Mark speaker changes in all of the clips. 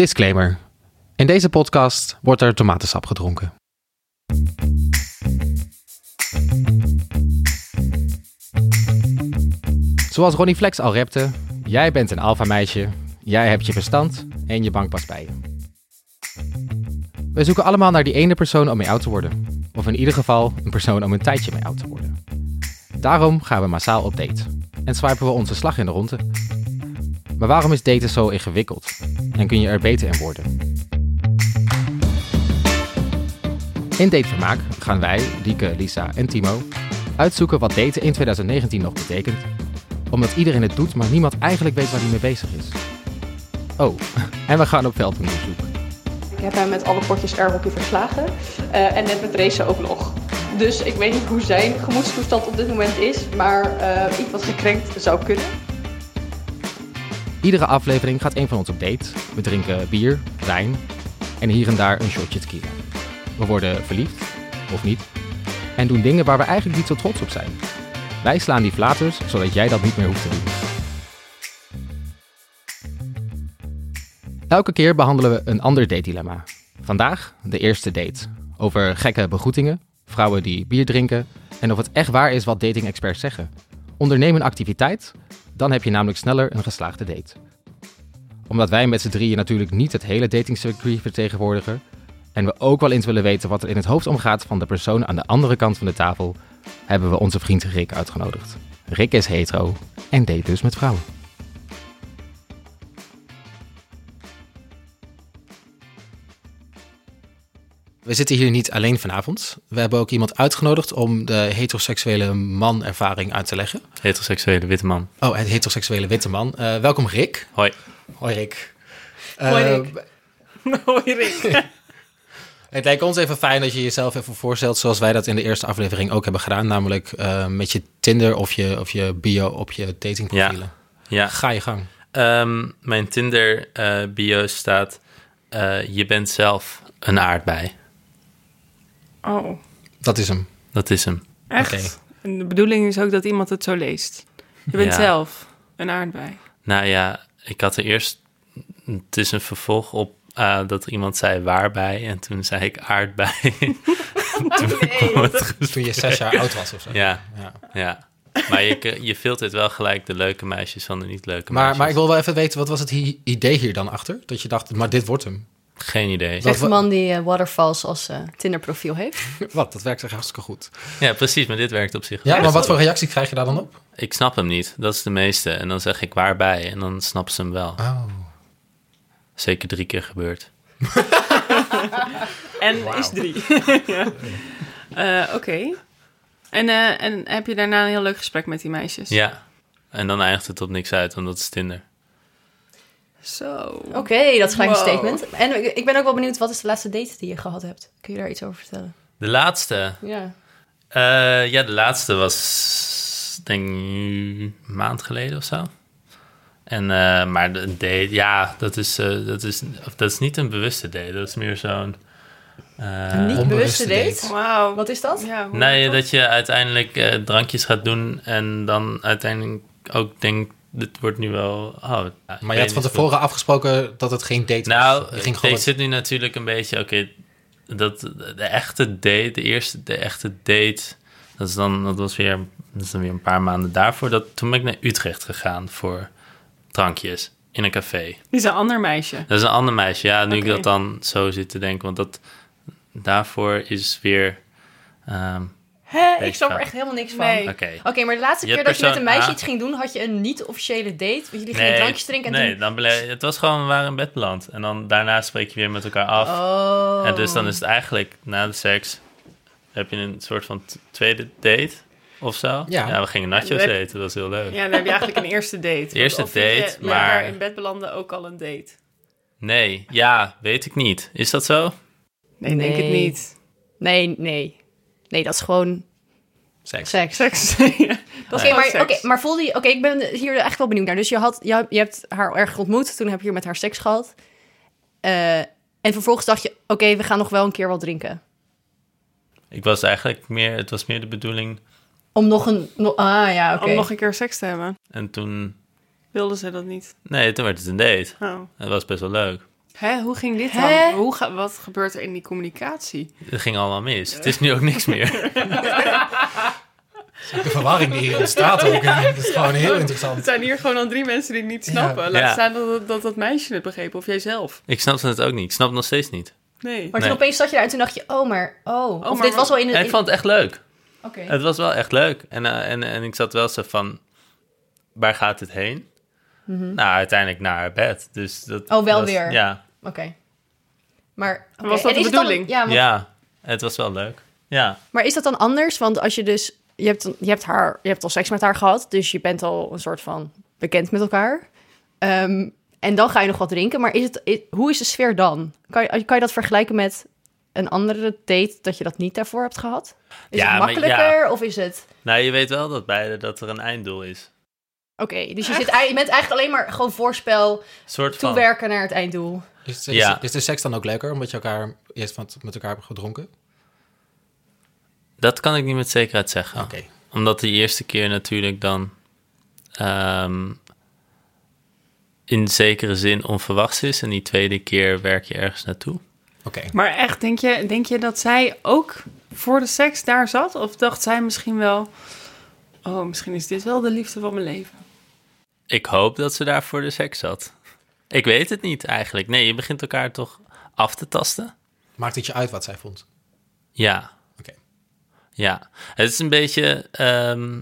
Speaker 1: Disclaimer. In deze podcast wordt er tomatensap gedronken. Zoals Ronnie Flex al repte, jij bent een alfa meisje, jij hebt je verstand en je bankpas bij je. We zoeken allemaal naar die ene persoon om mee oud te worden. Of in ieder geval een persoon om een tijdje mee oud te worden. Daarom gaan we massaal op date. En swipen we onze slag in de ronde. Maar waarom is daten zo ingewikkeld? En kun je er beter in worden? In Datevermaak gaan wij, Dieke, Lisa en Timo, uitzoeken wat daten in 2019 nog betekent. Omdat iedereen het doet, maar niemand eigenlijk weet waar hij mee bezig is. Oh, en we gaan op veldonderzoek.
Speaker 2: Ik heb hem met alle potjes airhockey verslagen. eh, en net met racen ook nog. Dus ik weet niet hoe zijn gemoedstoestand op dit moment is. Maar eh, iets wat gekrenkt zou kunnen.
Speaker 1: Iedere aflevering gaat een van ons op date. We drinken bier, wijn en hier en daar een shotje tequila. We worden verliefd, of niet, en doen dingen waar we eigenlijk niet zo trots op zijn. Wij slaan die flaters, zodat jij dat niet meer hoeft te doen. Elke keer behandelen we een ander datedilemma. Vandaag de eerste date. Over gekke begroetingen, vrouwen die bier drinken en of het echt waar is wat dating-experts zeggen. Onderneem een activiteit, dan heb je namelijk sneller een geslaagde date. Omdat wij met z'n drieën natuurlijk niet het hele datingcircuit vertegenwoordigen en we ook wel eens willen weten wat er in het hoofd omgaat van de persoon aan de andere kant van de tafel, hebben we onze vriend Rick uitgenodigd. Rick is hetero en date dus met vrouwen. We zitten hier niet alleen vanavond. We hebben ook iemand uitgenodigd om de heteroseksuele man-ervaring uit te leggen.
Speaker 3: Heteroseksuele witte man.
Speaker 1: Oh, het heteroseksuele witte man. Eh, welkom Rick.
Speaker 3: Hoi.
Speaker 1: Hoi Rick.
Speaker 2: Hoi,
Speaker 1: Eh,
Speaker 2: Rick.
Speaker 3: Hoi Rick.
Speaker 1: het lijkt ons even fijn dat je jezelf even voorstelt zoals wij dat in de eerste aflevering ook hebben gedaan. Namelijk eh, met je Tinder of je, of je bio op je datingprofielen.
Speaker 3: ja,
Speaker 1: Ga je gang.
Speaker 3: ehm, mijn Tinder eh, bio staat, eh, je bent zelf een aardbei.
Speaker 4: Oh,
Speaker 1: Dat is hem.
Speaker 3: Dat is hem.
Speaker 4: echt? En de bedoeling is ook dat iemand het zo leest. Je bent
Speaker 3: Ja.
Speaker 4: zelf een aardbei.
Speaker 3: Nou ja, ik had er eerst, het is een vervolg op eh, dat iemand zei waarbij en toen zei ik aardbei.
Speaker 1: Toen je zes jaar oud was of zo.
Speaker 3: ja,
Speaker 1: Ja.
Speaker 3: ja. Maar je, ke- je filtert wel gelijk de leuke meisjes van de niet leuke
Speaker 1: Maar,
Speaker 3: meisjes.
Speaker 1: maar ik wil wel even weten, wat was het hi- idee hier dan achter? Dat je dacht, maar dit wordt hem.
Speaker 3: Geen idee.
Speaker 1: Wat-
Speaker 5: Zegt de man die eh, Waterfalls als eh, Tinderprofiel heeft.
Speaker 1: Wat, dat werkt echt hartstikke goed.
Speaker 3: Ja, precies, maar dit werkt op zich
Speaker 1: Ja, maar wat voor reactie krijg je daar dan op?
Speaker 3: Ik snap hem niet, dat is de meeste. En dan zeg ik waarbij en dan snappen ze hem wel.
Speaker 1: Oh.
Speaker 3: Zeker drie keer gebeurd.
Speaker 4: En is drie. ja. Eh, Oké. En, eh, en heb je daarna een heel leuk gesprek met die meisjes?
Speaker 3: Ja. En dan eindigt het op niks uit, want dat is Tinder.
Speaker 4: Zo.
Speaker 5: Oké, dat is gelijk een
Speaker 4: Wow.
Speaker 5: statement. En ik, ik ben ook wel benieuwd, wat is de laatste date die je gehad hebt? Kun je daar iets over vertellen?
Speaker 3: De laatste.
Speaker 5: Ja.
Speaker 3: Eh, ja, de laatste was denk ik een maand geleden of zo. En, eh, maar de date, ja, dat is, eh, dat, is, of dat is niet een bewuste date. Dat is meer zo'n... eh,
Speaker 5: Een niet
Speaker 1: onbewuste
Speaker 5: bewuste date?
Speaker 1: date.
Speaker 4: Wauw.
Speaker 5: Wat is dat?
Speaker 4: Ja, hoe-
Speaker 3: Nee, dat je uiteindelijk eh, drankjes gaat doen en dan uiteindelijk ook denkt, dit wordt nu wel... Oh, ja, ik
Speaker 1: Maar
Speaker 3: weet
Speaker 1: je had van
Speaker 3: niet
Speaker 1: tevoren afgesproken dat het geen
Speaker 5: Dus
Speaker 1: date was.
Speaker 3: Nou,
Speaker 1: Je
Speaker 3: ik
Speaker 1: ging gewoon
Speaker 3: zit nu natuurlijk een beetje, oké, dat de echte date, de eerste, de echte date, dat is dan, dat was weer, dat is dan weer een paar maanden daarvoor. Dat toen ben ik naar Utrecht gegaan voor drankjes in een café.
Speaker 4: Is een ander meisje.
Speaker 3: Dat is een ander meisje. Ja, nu ik
Speaker 4: Oké.
Speaker 3: dat dan zo zit te denken, want dat daarvoor is weer, ehm,
Speaker 5: Hè,
Speaker 3: Date
Speaker 5: ik snap er
Speaker 3: vraag.
Speaker 5: echt helemaal niks van.
Speaker 4: Nee.
Speaker 3: oké.
Speaker 5: Oké, maar de laatste
Speaker 3: Je
Speaker 5: keer dat je met een
Speaker 3: persoon
Speaker 5: meisje
Speaker 3: A.
Speaker 5: iets ging doen, had je een niet-officiële date. Want jullie gingen drankjes drinken en
Speaker 3: nee,
Speaker 5: toen...
Speaker 3: dan bele- het was gewoon, we waren in bed beland. En dan daarna spreek je weer met elkaar af.
Speaker 5: Oh.
Speaker 3: En dus dan is het eigenlijk na de seks heb je een soort van t- tweede date of zo.
Speaker 1: Ja.
Speaker 3: we gingen nachos
Speaker 4: Heb-
Speaker 3: eten, dat was heel leuk.
Speaker 4: Ja, dan heb je eigenlijk een eerste date. Want
Speaker 3: Eerste
Speaker 4: of je,
Speaker 3: date,
Speaker 4: eh, met
Speaker 3: maar-
Speaker 4: elkaar in bed belanden ook al een date.
Speaker 3: Nee, ja, weet ik niet. Is dat zo?
Speaker 4: Nee, denk het
Speaker 5: Nee.
Speaker 4: niet.
Speaker 5: Nee, nee. Nee, dat is gewoon
Speaker 1: seks.
Speaker 5: seks.
Speaker 4: Seks. Ja, dat
Speaker 5: Oké,
Speaker 4: is gewoon
Speaker 5: maar,
Speaker 4: seks.
Speaker 5: oké, maar voelde je... Oké, ik ben hier echt wel benieuwd naar. Dus je, had, je, je hebt haar erg ontmoet. Toen heb je hier met haar seks gehad. Eh, en vervolgens dacht je... Oké, we gaan nog wel een keer wat drinken.
Speaker 3: Ik was eigenlijk meer, het was meer de bedoeling.
Speaker 5: Om nog een... no- ah, ja, oké.
Speaker 4: Om nog een keer seks te hebben.
Speaker 3: En toen,
Speaker 4: Wilden ze dat niet.
Speaker 3: nee, toen werd het een date.
Speaker 4: Oh.
Speaker 3: Het was best wel leuk.
Speaker 4: Hè, hoe ging dit
Speaker 5: Hè?
Speaker 4: dan? Hoe ga- wat gebeurt er in die communicatie?
Speaker 3: Het ging allemaal mis. Het is nu ook niks meer.
Speaker 1: De verwarring die hier ontstaat ook. Het is gewoon heel
Speaker 4: Het
Speaker 1: interessant.
Speaker 4: zijn hier gewoon al drie mensen die het niet snappen. Laat
Speaker 3: Ja.
Speaker 4: staan dat dat, dat dat meisje het begreep, of jijzelf.
Speaker 3: Ik snap het ook niet. Ik snap het nog steeds niet.
Speaker 4: Nee.
Speaker 5: Maar toen
Speaker 3: Nee.
Speaker 5: opeens zat je daar en toen dacht je, oh, maar, oh. of
Speaker 4: maar
Speaker 5: dit was wel in de...
Speaker 3: En ik vond het echt leuk.
Speaker 5: in- Oké.
Speaker 3: Het was wel echt leuk. En, eh, en, en ik zat wel zo van, waar gaat het heen? Nou, uiteindelijk naar haar bed. Dus dat
Speaker 5: Mhm. Oh, wel
Speaker 3: was-
Speaker 5: weer.
Speaker 3: Ja,
Speaker 5: Oké. Maar oké.
Speaker 4: was dat
Speaker 5: En
Speaker 4: de
Speaker 5: is het dan-
Speaker 4: bedoeling?
Speaker 5: ja, want-
Speaker 3: ja, het was wel leuk. Ja,
Speaker 5: Maar is dat dan anders? Want als je dus... Je hebt, je, hebt haar, je hebt al seks met haar gehad, dus je bent al een soort van bekend met elkaar. Ehm, en dan ga je nog wat drinken. Maar is het, i- hoe is de sfeer dan? Kan je, kan je dat vergelijken met een andere date dat je dat niet daarvoor hebt gehad? Is
Speaker 3: Ja,
Speaker 5: het
Speaker 3: maar ja.
Speaker 5: makkelijker of is het...
Speaker 3: nou je weet wel dat beide dat er een einddoel is.
Speaker 5: Oké, dus je, zit, ei- je bent eigenlijk alleen maar gewoon voorspel,
Speaker 3: soort van.
Speaker 5: toewerken naar het einddoel.
Speaker 1: Is, is,
Speaker 3: Ja.
Speaker 1: is de seks dan ook leuker omdat je elkaar eerst van, met elkaar hebt gedronken?
Speaker 3: Dat kan ik niet met zekerheid zeggen.
Speaker 1: Oké.
Speaker 3: Omdat de eerste keer natuurlijk dan ehm, in zekere zin onverwachts is. En die tweede keer werk je ergens naartoe.
Speaker 1: Oké.
Speaker 4: Maar echt, denk je, denk je dat zij ook voor de seks daar zat? Of dacht zij misschien wel... Oh, misschien is dit wel de liefde van mijn leven.
Speaker 3: Ik hoop dat ze daar voor de seks zat. Ik weet het niet eigenlijk. Nee, je begint elkaar toch af te tasten?
Speaker 1: Maakt het je uit wat zij vond?
Speaker 3: Ja,
Speaker 1: Oké.
Speaker 3: ja. Het is een beetje... ehm,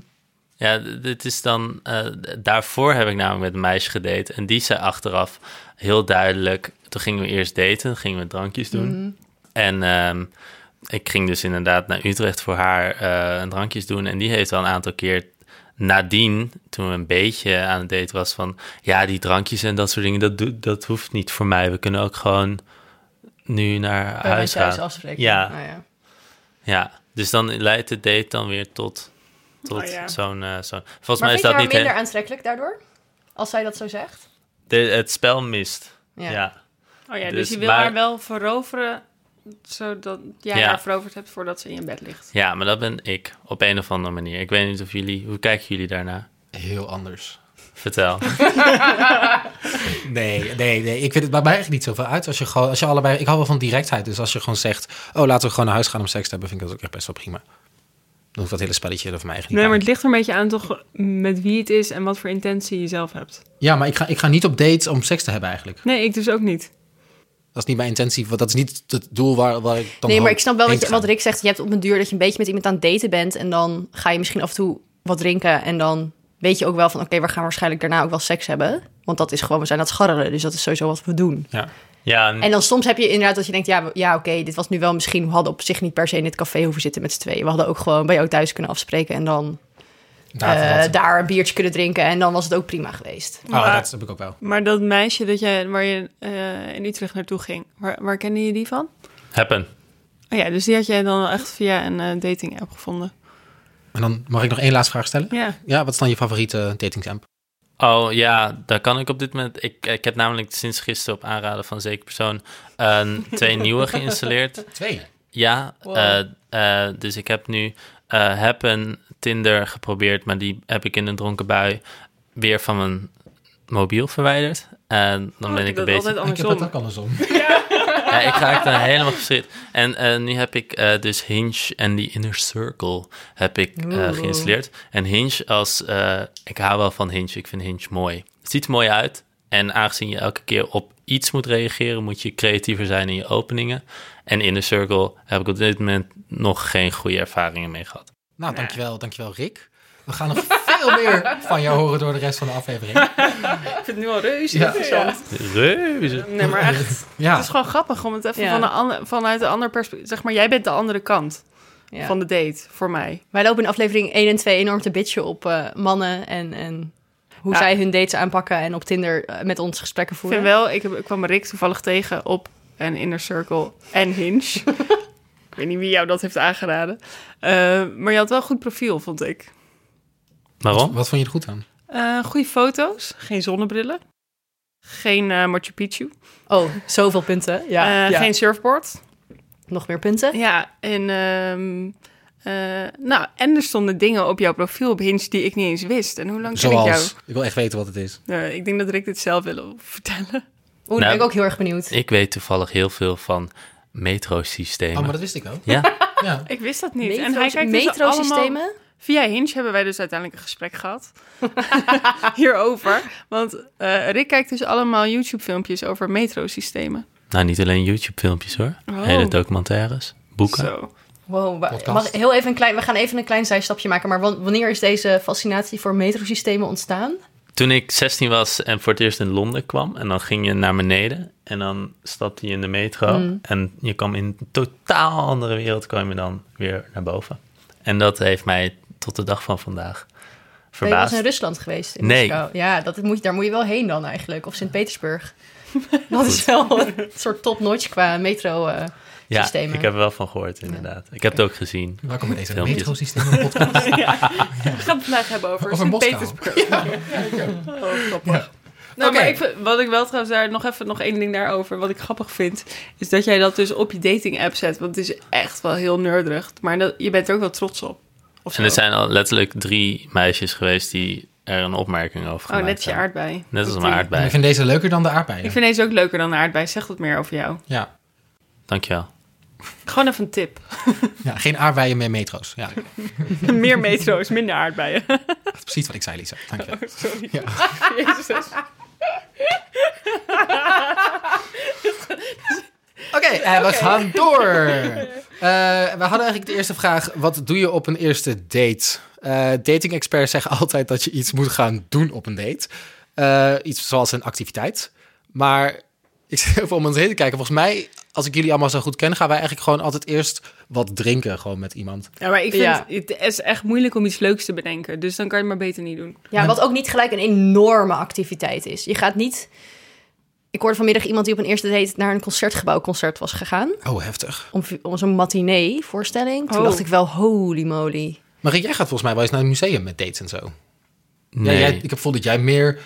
Speaker 3: ja, d- dit is dan... eh, d- daarvoor heb ik namelijk met een meisje gedate. En die zei achteraf heel duidelijk... Toen gingen we eerst daten, gingen we drankjes doen.
Speaker 5: Mhm.
Speaker 3: En ehm, ik ging dus inderdaad naar Utrecht voor haar eh, een drankjes doen. En die heeft al een aantal keer nadien, toen we een beetje aan het daten was, van ja, die drankjes en dat soort dingen, dat, doet- dat hoeft niet voor mij. We kunnen ook gewoon nu naar
Speaker 5: Bij mij
Speaker 3: huis
Speaker 5: thuis
Speaker 3: gaan.
Speaker 5: afspreken.
Speaker 3: Ja.
Speaker 5: Nou ja.
Speaker 3: Ja, dus dan leidt de date dan weer tot, tot
Speaker 4: Oh ja.
Speaker 3: zo'n, eh, zo'n... Volgens mij
Speaker 5: Maar vind
Speaker 3: is
Speaker 5: je
Speaker 3: dat
Speaker 5: haar
Speaker 3: niet...
Speaker 5: minder
Speaker 3: hè-
Speaker 5: aantrekkelijk daardoor? Als zij dat zo zegt?
Speaker 3: de- het spel mist.
Speaker 5: Ja.
Speaker 3: ja.
Speaker 4: Oh ja, dus,
Speaker 3: Dus,
Speaker 4: je wil
Speaker 3: maar-
Speaker 4: haar wel veroveren... zodat jij
Speaker 3: Ja.
Speaker 4: haar veroverd hebt voordat ze in je bed ligt.
Speaker 3: Ja, maar dat ben ik op een of andere manier. Ik weet niet of jullie... Hoe kijken jullie daarna?
Speaker 1: Heel anders.
Speaker 3: Vertel.
Speaker 1: Nee, nee, nee. Ik vind het bij mij echt niet zoveel uit. Als je gewoon, als je allebei, ik hou wel van directheid. Dus als je gewoon zegt, oh, laten we gewoon naar huis gaan om seks te hebben, vind ik dat ook echt best wel prima. Dan hoeft dat hele spelletje er voor mij echt niet
Speaker 4: Nee,
Speaker 1: aan.
Speaker 4: maar het ligt er een beetje aan toch met wie het is en wat voor intentie je zelf hebt.
Speaker 1: Ja, maar ik ga, ik ga niet op dates om seks te hebben eigenlijk.
Speaker 4: Nee, ik dus ook niet.
Speaker 1: Dat is niet mijn intentie, want dat is niet het doel waar, waar ik dan
Speaker 5: nee, maar
Speaker 1: hoop
Speaker 5: ik snap wel
Speaker 1: heen
Speaker 5: wat, je-
Speaker 1: te
Speaker 5: wat
Speaker 1: gaan.
Speaker 5: Rick zegt. Je hebt op een duur dat je een beetje met iemand aan het daten bent. En dan ga je misschien af en toe wat drinken. En dan weet je ook wel van, oké, we gaan waarschijnlijk daarna ook wel seks hebben. Want dat is gewoon, we zijn aan het scharrelen. Dus dat is sowieso wat we doen.
Speaker 1: Ja.
Speaker 3: Ja,
Speaker 5: En dan soms heb je inderdaad dat je denkt, ja, we- ja oké, dit was nu wel misschien... We hadden op zich niet per se in het café hoeven zitten met z'n tweeën. We hadden ook gewoon bij jou thuis kunnen afspreken. En dan
Speaker 1: Daar
Speaker 5: eh,
Speaker 1: verhaalt het.
Speaker 5: daar een biertje kunnen drinken. En dan was het ook prima geweest.
Speaker 1: Oh,
Speaker 4: Maar-
Speaker 1: dat heb ik ook wel.
Speaker 4: Maar dat meisje dat jij, waar je eh, in Utrecht naartoe ging, waar, waar kende je die van?
Speaker 3: happen.
Speaker 4: Oh ja, dus die had jij dan wel echt via een eh, dating app gevonden.
Speaker 1: En dan mag ik nog één laatste vraag stellen.
Speaker 4: Ja.
Speaker 1: Ja, wat is dan je favoriete datingsamp?
Speaker 3: Oh ja, daar kan ik op dit moment. Ik, ik heb namelijk sinds gisteren op aanraden van een zeker persoon een, twee nieuwe geïnstalleerd.
Speaker 1: Twee.
Speaker 3: Ja, eh, eh, dus ik heb nu eh Happen, Tinder geprobeerd, maar die heb ik in een dronken bui weer van mijn mobiel verwijderd. En dan ben ik een
Speaker 4: Oh, dat
Speaker 3: beetje.
Speaker 4: altijd
Speaker 1: Ik heb dat
Speaker 4: andersom.
Speaker 1: ook andersom.
Speaker 3: Ja, ik raak dan helemaal geschrikt. En eh, nu heb ik eh, dus Hinge en die Inner Circle heb ik eh, geïnstalleerd. En Hinge als... eh, ik hou wel van Hinge. Ik vind Hinge mooi. Het ziet er mooi uit. En aangezien je elke keer op iets moet reageren... moet je creatiever zijn in je openingen. En Inner Circle heb ik op dit moment nog geen goede ervaringen mee gehad.
Speaker 1: Nou, dankjewel, dankjewel Rick. We gaan nog veel meer van jou horen door de rest van de aflevering.
Speaker 4: Ik vind het nu al reuze
Speaker 1: Ja.
Speaker 4: interessant.
Speaker 3: Reuze.
Speaker 4: Nee, maar echt, het
Speaker 1: Ja,
Speaker 4: is gewoon grappig om het even
Speaker 5: Ja.
Speaker 4: van een ander, vanuit een ander perspectief... Zeg maar, jij bent de andere kant
Speaker 5: Ja.
Speaker 4: van de date voor mij.
Speaker 5: Wij lopen in aflevering 1 en 2 enorm te bitchen op eh, mannen en, en hoe
Speaker 4: Ja.
Speaker 5: zij hun dates aanpakken en op Tinder eh, met ons gesprekken
Speaker 4: Ik
Speaker 5: voeren.
Speaker 4: vind wel, ik, heb, ik kwam Rick toevallig tegen op een Inner Circle en Hinge. ik weet niet wie jou dat heeft aangeraden. Eh, maar je had wel goed profiel, vond ik.
Speaker 3: Waarom?
Speaker 1: wat vond je er goed aan?
Speaker 4: Eh goede foto's, geen zonnebrillen. Geen eh Machu Picchu.
Speaker 5: Oh, zoveel punten. Ja,
Speaker 4: Eh,
Speaker 5: ja.
Speaker 4: Geen surfboard.
Speaker 5: Nog meer punten.
Speaker 4: Ja, en, ehm, eh, nou, en er stonden dingen op jouw profiel op Hinge die ik niet eens wist. En hoe lang ken ik jou?
Speaker 1: Zoals, ik wil echt weten wat het is.
Speaker 4: Eh, ik denk dat Rick dit zelf wil vertellen.
Speaker 5: Oeh, daar
Speaker 3: Nou,
Speaker 5: ben ik ook heel erg benieuwd.
Speaker 3: Ik weet toevallig heel veel van metrosystemen.
Speaker 1: Oh, maar dat wist ik ook.
Speaker 3: Ja,
Speaker 1: Ja.
Speaker 4: Ik wist dat niet. en hij
Speaker 5: Metro's,
Speaker 4: kijkt dus allemaal...
Speaker 5: metrosystemen?
Speaker 4: Via Hinge hebben wij dus uiteindelijk een gesprek gehad hierover. Want eh, Rick kijkt dus allemaal YouTube-filmpjes over metrosystemen.
Speaker 3: nou niet alleen YouTube-filmpjes hoor.
Speaker 4: Oh.
Speaker 3: Hele documentaires, boeken.
Speaker 4: Zo.
Speaker 5: Wow, wa-
Speaker 1: Podcast.
Speaker 5: mag heel even een klein, we gaan even een klein zijstapje maken. Maar wan- wanneer is deze fascinatie voor metrosystemen ontstaan?
Speaker 3: Toen ik 16 was en voor het eerst in Londen kwam, en dan ging je naar beneden en dan stapte je in de metro.
Speaker 4: Mm.
Speaker 3: En je kwam in een totaal andere wereld, kwam je dan weer naar boven. En dat heeft mij tot de dag van vandaag
Speaker 5: Ben je wel eens
Speaker 3: verbaasd.
Speaker 5: in Rusland geweest? In
Speaker 3: Nee.
Speaker 5: Moskou? Ja, dat moet, je- daar moet je wel heen dan eigenlijk. Of Sint-Petersburg. Dat is wel een soort topnotch qua metro. eh,
Speaker 3: ja,
Speaker 5: systemen.
Speaker 3: ik heb er wel van gehoord inderdaad. Ik heb het ook gezien.
Speaker 1: Welkom bij deze
Speaker 3: Filmpjes.
Speaker 1: metrosystemen podcast.
Speaker 4: We gaan het vandaag hebben over
Speaker 1: Over Moskou.
Speaker 4: Sint-Petersburg. Oh, grappig.
Speaker 1: Ja.
Speaker 4: Nou,
Speaker 1: Oké.
Speaker 4: maar ik, vind- wat ik wel trouwens daar nog even nog één ding daarover, wat ik grappig vind, is dat jij dat dus op je dating app zet. Want het is echt wel heel nerdig. Maar dat, je bent er ook wel trots op. Of
Speaker 3: En
Speaker 4: zo.
Speaker 3: er zijn al letterlijk drie meisjes geweest die er een opmerking over
Speaker 4: oh,
Speaker 3: gemaakt
Speaker 4: net je
Speaker 3: hebben.
Speaker 4: aardbei.
Speaker 3: Net als een
Speaker 4: Die-
Speaker 1: Maar Ik
Speaker 3: aardbei.
Speaker 1: vind deze leuker dan de aardbeien.
Speaker 4: Ik vind deze ook leuker dan de aardbei. Zeg wat meer over jou.
Speaker 1: ja.
Speaker 3: Dankjewel.
Speaker 4: Gewoon even een tip.
Speaker 1: ja, geen aardbeien meer metro's. Ja, dat
Speaker 4: meer metro's, minder aardbeien.
Speaker 1: is precies wat ik zei, Lisa. Dank je.
Speaker 4: Oh, Sorry.
Speaker 1: Ja.
Speaker 4: Jezus.
Speaker 1: Oké, eh, we gaan door. Eh, we hadden eigenlijk de eerste vraag: wat doe je op een eerste date? Eh dating experts zeggen altijd dat je iets moet gaan doen op een date. Eh, iets zoals een activiteit. Maar ik zit even om ons heen te kijken. Volgens mij, als ik jullie allemaal zo goed ken, gaan wij eigenlijk gewoon altijd eerst wat drinken. Gewoon met iemand.
Speaker 4: Ja, maar ik vind
Speaker 5: Ja.
Speaker 4: het is echt moeilijk om iets leuks te bedenken. Dus dan kan je het maar beter niet doen.
Speaker 5: Ja, wat ook niet gelijk een enorme activiteit is. Je gaat niet... Ik hoorde vanmiddag iemand die op een eerste date naar een concertgebouwconcert was gegaan.
Speaker 1: Oh, heftig.
Speaker 5: Om, om zo'n matinee voorstelling. Toen
Speaker 4: Oh.
Speaker 5: dacht ik wel, holy moly.
Speaker 1: Maar Rick, jij gaat volgens mij wel eens naar het museum met dates en zo.
Speaker 3: Nee.
Speaker 1: Ja, jij, ik heb gevoel dat jij meer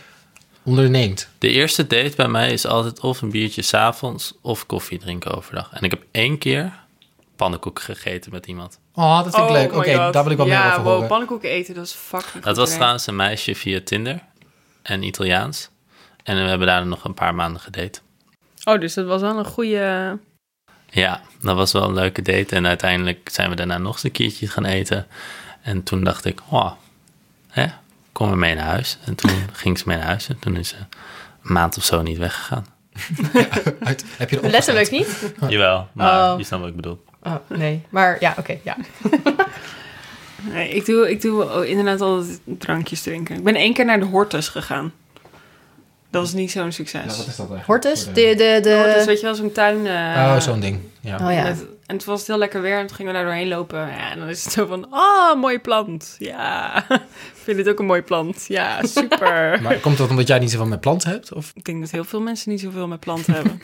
Speaker 1: onderneemt.
Speaker 3: De eerste date bij mij is altijd of een biertje s'avonds of koffie drinken overdag. En ik heb één keer pannenkoek gegeten met iemand.
Speaker 1: Oh, dat vind ik leuk.
Speaker 4: my
Speaker 1: Oké,
Speaker 4: God.
Speaker 1: daar wil ik wel
Speaker 4: ja,
Speaker 1: meer over
Speaker 4: wow,
Speaker 1: horen.
Speaker 4: pannenkoeken eten, dat is fucking
Speaker 3: Dat was trouwens een meisje via Tinder en Italiaans. En we hebben daar nog een paar maanden gedate.
Speaker 4: Oh, dus dat was wel een goede...
Speaker 3: Ja, dat was wel een leuke date. En uiteindelijk zijn we daarna nog eens een keertje gaan eten. En toen dacht ik, oh, hè, kom maar mee naar huis. En toen ging ze mee naar huis. En toen is ze een maand of zo niet weggegaan.
Speaker 1: Uit- heb je de opdracht?
Speaker 5: Letterlijk niet?
Speaker 3: Jawel, maar
Speaker 5: Oh.
Speaker 3: je snapt wat ik bedoel.
Speaker 5: Oh, nee. Maar ja, oké, ja.
Speaker 4: Nee, ik doe, ik doe oh, inderdaad altijd drankjes drinken. Ik ben één keer naar de Hortus gegaan. Dat is niet zo'n succes.
Speaker 1: Ja, wat is dat eigenlijk?
Speaker 5: Hortus?
Speaker 1: Voor
Speaker 5: dus De,
Speaker 1: de-
Speaker 5: de, de...
Speaker 4: Hortus, weet je wel, zo'n tuin... eh,
Speaker 1: Oh, zo'n ding. Ja.
Speaker 5: Oh ja.
Speaker 4: met- en toen was het heel lekker weer en toen gingen we daar doorheen lopen. Ja, en dan is het zo van, ah, mooie plant. Ja, ik vind dit ook een mooie plant. Ja, super.
Speaker 1: Maar komt dat omdat jij niet zoveel met planten hebt? Of?
Speaker 4: Ik denk dat heel veel mensen niet zoveel met planten hebben.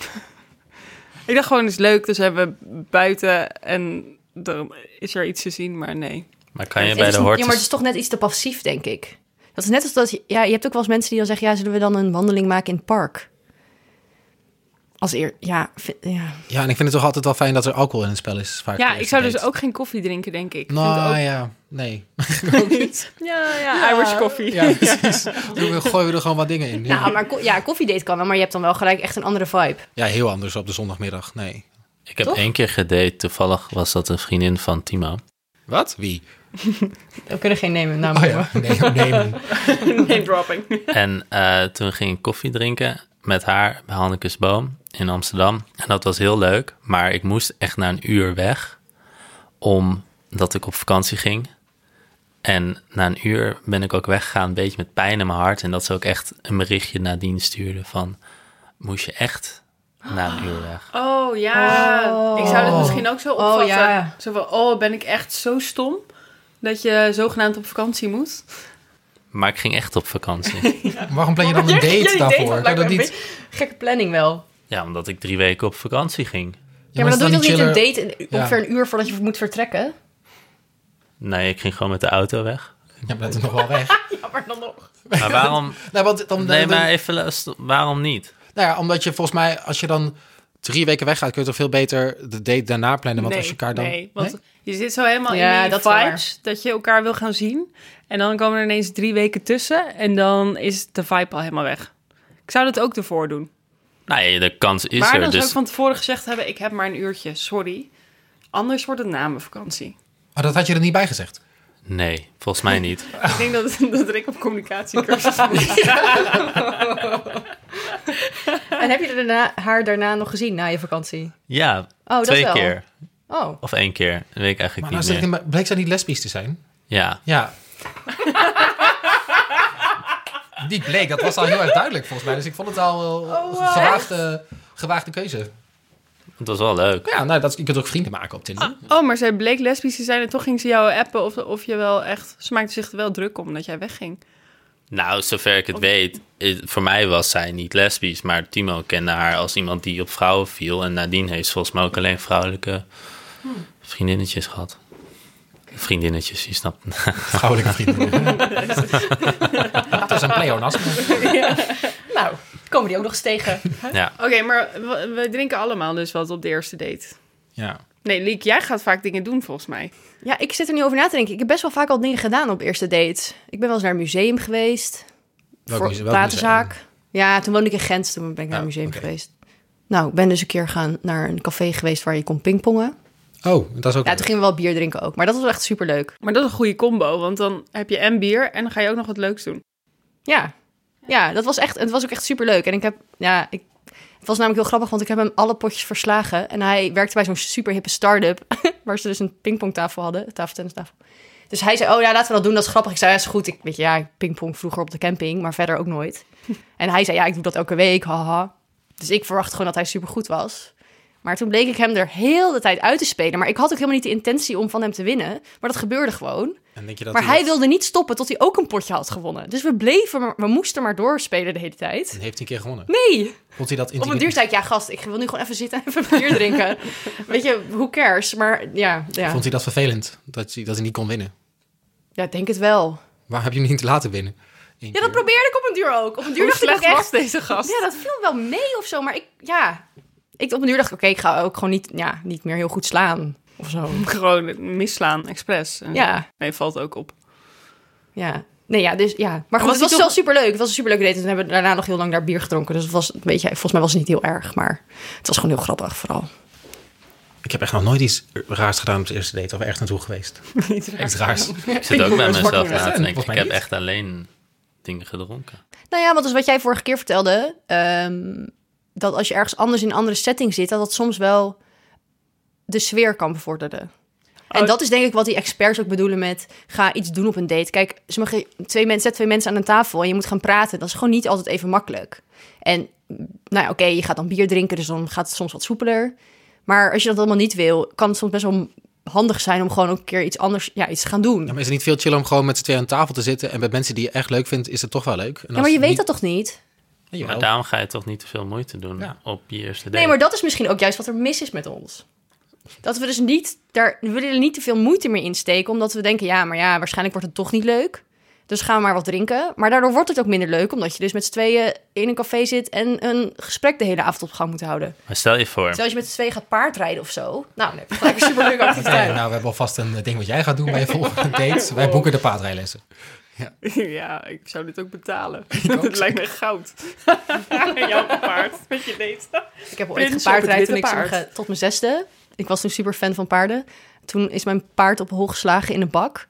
Speaker 4: ik dacht gewoon, het is leuk, dus hebben we buiten en dan is er iets te zien, maar nee.
Speaker 3: Maar kan je
Speaker 5: Het
Speaker 3: bij
Speaker 5: is-
Speaker 3: de
Speaker 5: Ja, maar het
Speaker 3: hortus...
Speaker 5: is toch net iets te passief, denk ik. Dat is net als dat... je- Ja, je hebt ook wel eens mensen die dan zeggen... Ja, zullen we dan een wandeling maken in het park? Als eer... Ja, vind- ja.
Speaker 1: Ja, en ik vind het toch altijd wel fijn dat er alcohol in het spel is. Vaak
Speaker 4: Ja,
Speaker 1: eerst
Speaker 4: ik zou
Speaker 1: een
Speaker 4: dus
Speaker 1: date.
Speaker 4: ook geen koffie drinken, denk ik. Ik vind
Speaker 1: Nou
Speaker 4: ook-
Speaker 1: ja, nee.
Speaker 4: ja, ja, Irish koffie.
Speaker 1: Ja, precies. Dan gooien we er gewoon wat dingen in. Ja,
Speaker 5: Nou, maar ko- ja, koffiedate kan wel, maar je hebt dan wel gelijk echt een andere vibe.
Speaker 1: Ja, heel anders op de zondagmiddag. Nee.
Speaker 3: Ik heb
Speaker 5: toch?
Speaker 3: één keer gedate. Toevallig was dat een vriendin van Timo.
Speaker 1: Wat? Wie?
Speaker 5: We kunnen geen nemen,
Speaker 1: Oh
Speaker 5: namelijk.
Speaker 1: ja, nee, oh, nee. man.
Speaker 4: Name dropping.
Speaker 3: En eh, toen ging ik koffie drinken met haar bij Hannekes Boom in Amsterdam. En dat was heel leuk, maar ik moest echt na een uur weg, omdat ik op vakantie ging. En na een uur ben ik ook weggegaan, een beetje met pijn in mijn hart. En dat ze ook echt een berichtje nadien stuurde van, moest je echt na een uur weg?
Speaker 4: Oh ja, ik zou dat misschien ook zo opvatten.
Speaker 5: Oh. ja.
Speaker 4: Zo van, oh, ben ik echt zo stom dat je zogenaamd op vakantie moet?
Speaker 3: Maar ik ging echt op vakantie.
Speaker 1: Waarom plan je dan een date daarvoor? Kan dat niet?
Speaker 5: Gekke planning wel.
Speaker 3: ja, omdat ik drie weken op vakantie ging.
Speaker 5: Ja, maar, dan doe je toch niet
Speaker 1: chiller?
Speaker 5: een date in- ongeveer een uur voordat je moet vertrekken?
Speaker 3: Nee, ik ging gewoon met de auto weg.
Speaker 1: Ja, maar dat is nog wel weg.
Speaker 5: Ja, Oh, maar dan nog.
Speaker 3: Maar waarom...
Speaker 1: Nou, want dan,
Speaker 3: Nee,
Speaker 1: dan-
Speaker 3: maar even... luister- Waarom niet?
Speaker 1: Nou ja, omdat je volgens mij, als je dan drie weken weggaat, kun je toch veel beter de date daarna plannen. Want
Speaker 4: nee,
Speaker 1: als je elkaar dan...
Speaker 4: nee, want
Speaker 1: Nee?
Speaker 4: je zit zo helemaal
Speaker 5: Ja,
Speaker 4: in die
Speaker 5: dat is
Speaker 4: vibes dat je elkaar wil gaan zien. En dan komen er ineens drie weken tussen en dan is de vibe al helemaal weg. Ik zou dat ook ervoor doen.
Speaker 3: Nou ja, de kans is
Speaker 4: maar
Speaker 3: er.
Speaker 4: dan zou
Speaker 3: Dus
Speaker 4: ik van tevoren gezegd hebben, ik heb maar een uurtje, sorry. Anders wordt het na mijn vakantie.
Speaker 1: Maar dat had je er niet bij gezegd.
Speaker 3: nee, volgens mij niet.
Speaker 4: Ik denk dat, dat Rick op communicatiecursus is.
Speaker 5: En heb je daarna, haar daarna nog gezien na je vakantie?
Speaker 3: Ja,
Speaker 5: Oh, dat
Speaker 3: twee
Speaker 5: wel.
Speaker 3: keer.
Speaker 5: Oh.
Speaker 3: Of één keer. Dat weet ik eigenlijk
Speaker 1: Maar nou
Speaker 3: niet
Speaker 1: zeg
Speaker 3: meer.
Speaker 1: ik, maar bleek zij niet lesbisch te zijn?
Speaker 3: Ja.
Speaker 1: Ja. niet bleek, dat was al heel erg duidelijk volgens mij. Dus ik vond het al
Speaker 5: Oh,
Speaker 1: eh, een gewaagde, gewaagde keuze.
Speaker 3: Het was wel leuk.
Speaker 1: Ja, nou, dat, je kunt ook vrienden maken op Tinder.
Speaker 4: Oh, maar zij bleek lesbisch te zijn en toch ging ze jou appen of, of je wel echt... Ze maakte zich er wel druk om dat jij wegging.
Speaker 3: Nou, zover ik het weet, i- voor mij was zij niet lesbisch. Maar Timo kende haar als iemand die op vrouwen viel. En nadien heeft ze volgens mij ook alleen vrouwelijke
Speaker 5: Hm.
Speaker 3: vriendinnetjes gehad. Vriendinnetjes, je snapt.
Speaker 1: Vrouwelijke vrienden. dat is een pleonasme.
Speaker 5: Nou, komen die ook nog eens tegen.
Speaker 3: ja.
Speaker 4: Oké, maar we, we drinken allemaal dus wat op de eerste date.
Speaker 1: Ja.
Speaker 4: Nee, Liek, jij gaat vaak dingen doen volgens mij.
Speaker 5: Ja, ik zit er nu over na te denken. Ik heb best wel vaak al dingen gedaan op eerste dates. Ik ben wel eens naar een museum geweest.
Speaker 1: Welk muse- welk
Speaker 5: waterzaak. Ja, toen woonde ik in Gent. Toen ben ik naar een
Speaker 1: Oh,
Speaker 5: museum
Speaker 1: oké.
Speaker 5: geweest. Nou, ik ben dus een keer gaan naar een café geweest waar je kon pingpongen.
Speaker 1: Oh, dat is ook...
Speaker 5: Ja, toen gingen we wel bier drinken ook. Maar dat was echt superleuk.
Speaker 4: Maar dat is een goede combo, want dan heb je en bier en dan ga je ook nog wat leuks doen.
Speaker 5: Ja. Ja, dat was echt, het was ook echt superleuk. En ik heb, ja, ik, het was namelijk heel grappig, want ik heb hem alle potjes verslagen. En hij werkte bij zo'n superhippe start-up, waar ze dus een pingpongtafel hadden, een tafeltennistafel. Dus hij zei, oh ja, laten we dat doen, dat is grappig. Ik zei, ja, is goed. Ik weet je, ja, ik pingpong vroeger op de camping, maar verder ook nooit. En hij zei, ja, ik doe dat elke week, haha. Dus ik verwachtte gewoon dat hij supergoed was. Maar toen bleek ik hem er heel de tijd uit te spelen. Maar ik had ook helemaal niet de intentie om van hem te winnen. Maar dat gebeurde gewoon.
Speaker 1: En denk je dat
Speaker 5: Maar hij wilde niet stoppen tot hij ook een potje had gewonnen. Dus we bleven, maar, we moesten maar doorspelen de hele tijd.
Speaker 1: Heeft hij een keer gewonnen?
Speaker 5: Nee,
Speaker 1: Vond hij dat
Speaker 5: op een duur zei ik, ja gast, ik wil nu gewoon even zitten en even bier drinken. Weet je, who cares? Maar ja, ja.
Speaker 1: Vond hij dat vervelend? Dat hij, dat hij niet kon winnen?
Speaker 5: ja, ik denk het wel.
Speaker 1: Waar heb je hem niet laten winnen? Eén
Speaker 5: Ja,
Speaker 1: keer.
Speaker 5: dat probeerde ik op een duur ook. Op een duur
Speaker 4: Hoe
Speaker 5: dacht ik ook
Speaker 4: slecht was
Speaker 5: echt,
Speaker 4: deze gast?
Speaker 5: ja, dat viel wel mee of zo. Maar ik, ja, ik, op een duur dacht ik, oké, ik ga ook gewoon niet, ja, niet meer heel goed slaan of zo.
Speaker 4: Gewoon misslaan, expres. En-
Speaker 5: Ja,
Speaker 4: Nee, valt ook op.
Speaker 5: ja. Nee, ja, dus ja. Maar goed,
Speaker 4: Was
Speaker 5: het was
Speaker 4: hij
Speaker 5: wel
Speaker 4: toch-
Speaker 5: superleuk. Het was een superleuke date. En toen hebben we daarna nog heel lang daar bier gedronken. Dus het was een beetje, volgens mij was het niet heel erg. Maar het was gewoon heel grappig vooral.
Speaker 1: Ik heb echt nog nooit iets raars gedaan op de eerste date. Of echt naartoe geweest. Echt raars.
Speaker 3: Ik zit ook bij mezelf na te
Speaker 1: Volgens
Speaker 3: denken. Ik
Speaker 1: mij
Speaker 3: heb
Speaker 1: niet.
Speaker 3: echt alleen dingen gedronken.
Speaker 5: Nou ja, want dus wat jij vorige keer vertelde, ehm, dat als je ergens anders in een andere setting zit, dat dat soms wel de sfeer kan bevorderen. En
Speaker 4: Oh.
Speaker 5: dat is denk ik wat die experts ook bedoelen met ga iets doen op een date. Kijk, ze mogen twee mensen, zet twee mensen aan een tafel en je moet gaan praten. Dat is gewoon niet altijd even makkelijk. En nou ja, oké, je gaat dan bier drinken, dus dan gaat het soms wat soepeler. Maar als je dat allemaal niet wil, kan het soms best wel handig zijn om gewoon ook een keer iets anders, ja, iets te gaan doen.
Speaker 1: Ja, maar is het niet veel chill om gewoon met z'n tweeën aan tafel te zitten... en met mensen die je echt leuk vindt, is het toch wel leuk? En
Speaker 5: Ja,
Speaker 1: als
Speaker 5: maar je
Speaker 1: het
Speaker 5: weet
Speaker 1: niet-
Speaker 5: dat toch niet?
Speaker 1: Ja, jawel.
Speaker 3: Maar daarom ga je toch niet te veel moeite doen
Speaker 1: Ja.
Speaker 3: op je eerste date.
Speaker 5: Nee, maar dat is misschien ook juist wat er mis is met ons. Dat we dus niet daar, we willen er niet te veel moeite meer insteken, omdat we denken, ja, maar ja, waarschijnlijk wordt het toch niet leuk. Dus gaan we maar wat drinken. Maar daardoor wordt het ook minder leuk, omdat je dus met z'n tweeën in een café zit en een gesprek de hele avond op gang moet houden.
Speaker 3: Maar stel je voor,
Speaker 5: Terwijl als je met z'n tweeën gaat paardrijden of zo. Nou, nee, gelijk een superleuke
Speaker 1: Hey,
Speaker 5: activiteit.
Speaker 1: nou, we hebben alvast een eh, ding wat jij gaat doen bij je volgende date. Wij boeken de paardrijlessen.
Speaker 4: Ja, ik zou dit ook betalen. Het lijkt me goud. Jouw paard met je date.
Speaker 5: Ik heb ooit
Speaker 4: Prins op het
Speaker 5: gepaardrijd toen ik
Speaker 4: witte paard.
Speaker 5: sommige- tot mijn zesde. Ik was toen super fan van paarden. Toen is mijn paard op hol geslagen in een bak.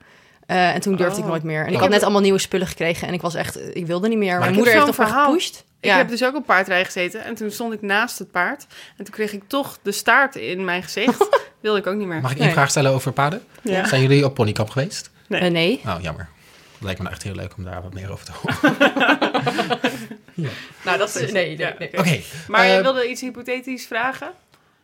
Speaker 5: Eh, en toen durfde ik
Speaker 4: Oh.
Speaker 5: nooit meer. En ik
Speaker 1: Oh.
Speaker 5: had net allemaal nieuwe spullen gekregen. En ik was echt, eh, ik wilde niet meer. mijn
Speaker 1: ik
Speaker 5: moeder
Speaker 4: heb zo'n
Speaker 5: heeft nog maar
Speaker 4: verhaal.
Speaker 5: gepusht.
Speaker 4: Ik heb dus ook op paardrijden gezeten en toen stond ik naast het paard. En toen kreeg ik toch de staart in mijn gezicht. Wilde ik ook niet meer.
Speaker 1: Mag ik één
Speaker 5: Nee.
Speaker 1: vraag stellen over paarden?
Speaker 4: Ja.
Speaker 1: Zijn jullie op ponykamp geweest?
Speaker 5: Eh, nee.
Speaker 1: Nou, jammer. Lijkt me nou echt heel leuk om daar wat meer over te horen.
Speaker 5: Nou, dat is... Nee,
Speaker 4: nee, nee.
Speaker 1: Oké.
Speaker 4: Maar
Speaker 1: eh,
Speaker 4: je wilde iets hypothetisch vragen?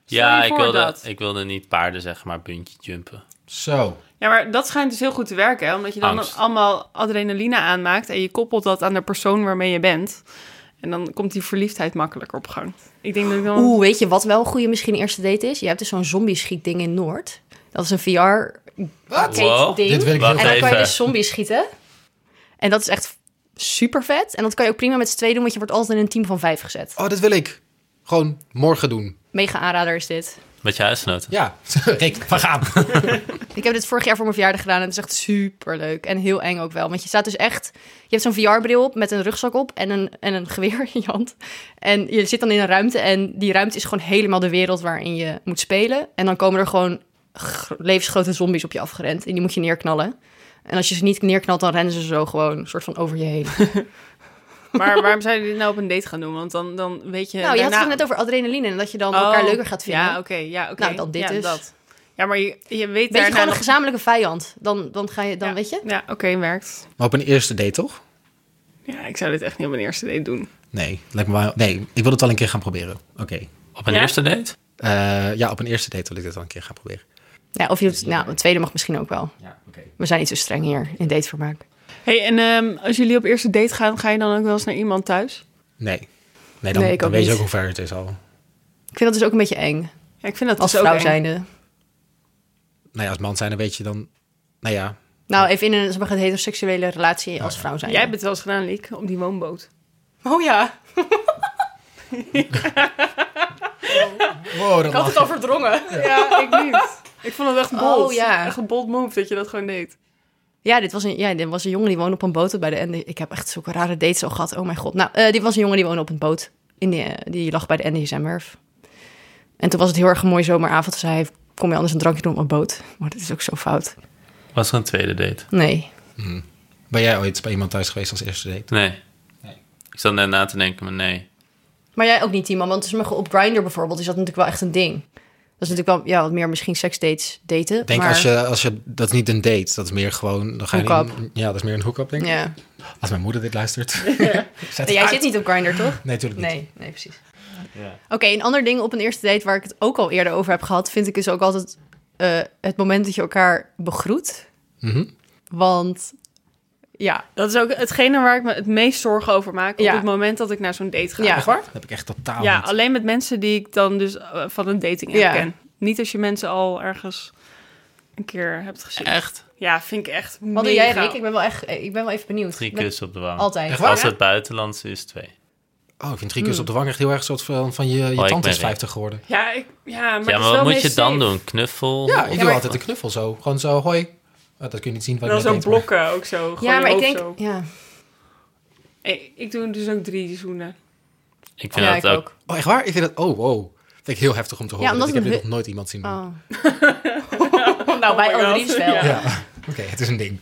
Speaker 4: Stel
Speaker 3: ja,
Speaker 4: je
Speaker 3: ik
Speaker 4: voor
Speaker 3: wilde,
Speaker 4: dat.
Speaker 3: ik wilde niet paarden zeggen, maar buntje jumpen.
Speaker 1: Zo.
Speaker 4: Ja, maar dat schijnt dus heel goed te werken, hè? omdat je dan
Speaker 3: Angst.
Speaker 4: allemaal adrenaline aanmaakt en je koppelt dat aan de persoon waarmee je bent. En dan komt die verliefdheid makkelijker op gang. Ik denk dat ik dan...
Speaker 5: Oeh, weet je wat wel een goede misschien eerste date is? Je hebt dus zo'n zombie schiet ding in Noord. Dat is een VR
Speaker 1: Wat?
Speaker 3: Wow.
Speaker 5: ding.
Speaker 1: Dit wil ik heel
Speaker 3: Wacht
Speaker 5: En dan kan je
Speaker 3: even.
Speaker 5: dus zombies schieten. En dat is echt super vet. En dat kan je ook prima met z'n tweeën doen, want je wordt altijd in een team van vijf gezet.
Speaker 1: Oh, dat wil ik. Gewoon morgen doen.
Speaker 5: Mega aanrader is dit.
Speaker 3: Met je huisgenoten.
Speaker 1: Ja, Rick, we gaan.
Speaker 5: Ik heb dit vorig jaar voor mijn verjaardag gedaan en het is echt super leuk. En heel eng ook wel. Want je staat dus echt. Je hebt zo'n VR-bril op met een rugzak op en een, en een geweer in je hand. En je zit dan in een ruimte. En die ruimte is gewoon helemaal de wereld waarin je moet spelen. En dan komen er gewoon gr- levensgrote zombies op je afgerend. En die moet je neerknallen. En als je ze niet neerknalt, dan rennen ze zo gewoon een soort van over je heen.
Speaker 4: Maar waarom zou je dit nou op een date gaan doen? Want dan, dan weet je...
Speaker 5: nou, je had het
Speaker 4: daarna-
Speaker 5: toch net over adrenaline en dat je dan
Speaker 4: Oh,
Speaker 5: elkaar leuker gaat vinden.
Speaker 4: Ja, oké. ja, oké.
Speaker 5: Nou, dan dit
Speaker 4: ja,
Speaker 5: dus.
Speaker 4: Dat. Ja, maar je, je weet
Speaker 5: Weet je
Speaker 4: daarna
Speaker 5: gewoon een
Speaker 4: nog-
Speaker 5: gezamenlijke vijand. Dan, dan ga je, dan
Speaker 4: Ja.
Speaker 5: weet je.
Speaker 4: Ja, oké, werkt.
Speaker 1: Maar op een eerste date toch?
Speaker 4: Ja, ik zou dit echt niet op mijn eerste date doen.
Speaker 1: Nee, lijkt me wel, nee, ik wil het wel een keer gaan proberen. Oké.
Speaker 3: Op een
Speaker 4: Ja?
Speaker 3: eerste date?
Speaker 1: Eh, ja, op een eerste date wil ik dit wel een keer gaan proberen.
Speaker 5: Ja, of je doet, nou, een tweede mag misschien ook wel.
Speaker 1: Ja, oké.
Speaker 5: We zijn niet zo streng hier in datevermaak.
Speaker 4: hey, en ehm, als jullie op eerste date gaan, ga je dan ook wel eens naar iemand thuis?
Speaker 1: Nee. Nee, dan,
Speaker 5: Nee, ik
Speaker 1: dan
Speaker 5: ook
Speaker 1: weet je
Speaker 5: niet.
Speaker 1: ook hoe ver het is al. Nou
Speaker 5: Ik vind dat dus ook een beetje eng.
Speaker 4: Ja, ik vind dat
Speaker 5: Als
Speaker 4: dus ook
Speaker 5: vrouw
Speaker 4: eng.
Speaker 5: zijnde.
Speaker 1: Nou ja, als man zijn dan weet je dan... Nou ja,
Speaker 5: Nou, even in een zeg maar, een heteroseksuele relatie als vrouw zijnde.
Speaker 4: Jij hebt het wel eens gedaan, Liek, op die woonboot.
Speaker 5: Oh ja,
Speaker 1: Wow, dat mag.
Speaker 5: al verdrongen.
Speaker 4: Ja, ik niet. Ik vond het echt bold.
Speaker 5: Oh, ja.
Speaker 4: Echt een bold move dat je dat gewoon deed.
Speaker 5: Ja dit, was een, ja, dit was een jongen die woonde op een boot bij de... En ik heb echt zulke rare dates al gehad. Oh mijn god. Nou, eh, dit was een jongen die woonde op een boot. In de, eh, die lag bij de NDSM-werf. En toen was het heel erg een mooie zomeravond. Toen zei hij, kom je anders een drankje doen op een boot? Maar dat is ook zo fout.
Speaker 3: Was er een tweede date?
Speaker 5: Nee.
Speaker 1: Ben jij ooit bij iemand thuis geweest als eerste date?
Speaker 3: Nee. Ik zat net na te denken, maar nee.
Speaker 5: Maar jij ook niet, Timo. Want sommige- op Grindr bijvoorbeeld is dat natuurlijk wel echt een ding. Dat is natuurlijk wel ja, wat meer misschien seksdates daten.
Speaker 1: Ik denk
Speaker 5: maar,
Speaker 1: als, je, als je... Dat is niet een date, dat is meer gewoon... Dan ga je
Speaker 5: Hook-up.
Speaker 1: in- ja, dat is meer een hook-up, denk ik.
Speaker 5: Ja.
Speaker 1: Als mijn moeder dit luistert. Zet
Speaker 5: Nee, jij
Speaker 1: uit.
Speaker 5: zit niet op Grindr, toch?
Speaker 1: Nee, natuurlijk niet.
Speaker 5: Nee, nee, precies. Oké, een ander ding op een eerste date waar ik het ook al eerder over heb gehad, vind ik dus ook altijd eh, het moment dat je elkaar begroet.
Speaker 1: Mhm.
Speaker 5: Want ja,
Speaker 4: Dat is ook hetgene waar ik me het meest zorgen over maak
Speaker 5: Ja.
Speaker 4: op het moment dat ik naar zo'n date ga.
Speaker 5: Ja.
Speaker 4: Echt waar?
Speaker 1: Dat heb ik echt totaal
Speaker 4: Ja,
Speaker 1: niet.
Speaker 4: alleen met mensen die ik dan dus eh, van een dating app
Speaker 5: Ja.
Speaker 4: ken. Niet als je mensen al ergens een keer hebt gezien.
Speaker 3: Echt?
Speaker 4: Ja, vind ik echt
Speaker 5: wat doe jij,
Speaker 4: mega-
Speaker 5: Rick? Ik ben wel echt, ik ben wel even benieuwd.
Speaker 3: Drie
Speaker 5: Ik ben-
Speaker 3: kussen op de wang.
Speaker 5: Altijd.
Speaker 1: Echt waar?
Speaker 3: Als het buitenlands is, twee.
Speaker 1: Oh, ik vind drie kus op de wang echt heel erg soort van... van je, je
Speaker 3: Oh, ik
Speaker 1: tand
Speaker 3: ben
Speaker 1: is
Speaker 3: er.
Speaker 1: 50 geworden.
Speaker 4: Ja, ik, ja, maar,
Speaker 3: ja,
Speaker 4: het is
Speaker 3: maar wat
Speaker 4: wel
Speaker 3: moet je
Speaker 4: meest
Speaker 3: dan
Speaker 4: safe.
Speaker 3: doen? Knuffel?
Speaker 1: Ja, ik doe
Speaker 5: maar-
Speaker 1: altijd de knuffel zo. Gewoon zo, hoi. Ah, dat kun je niet zien.
Speaker 4: En
Speaker 1: waar
Speaker 4: dan
Speaker 1: ik mee
Speaker 4: zo'n
Speaker 1: date, maar-
Speaker 4: blokken ook zo.
Speaker 5: Ja, maar ik denk,
Speaker 4: Zo.
Speaker 5: ja,
Speaker 4: Ik, ik doe dus ook drie zoenen.
Speaker 3: Ik vind
Speaker 5: ja, ik
Speaker 3: dat ook.
Speaker 5: ook.
Speaker 1: Oh, echt waar? Ik vind dat... Oh, wow. Dat vind ik heel heftig om te horen.
Speaker 5: omdat
Speaker 1: dat ik heb
Speaker 5: het
Speaker 1: dit
Speaker 5: een
Speaker 1: nog nooit iemand zien doen.
Speaker 5: Oh. nou, wij
Speaker 4: my
Speaker 5: alle
Speaker 4: God.
Speaker 5: drie dus wel.
Speaker 4: Ja.
Speaker 1: Ja. Oké, het is een ding.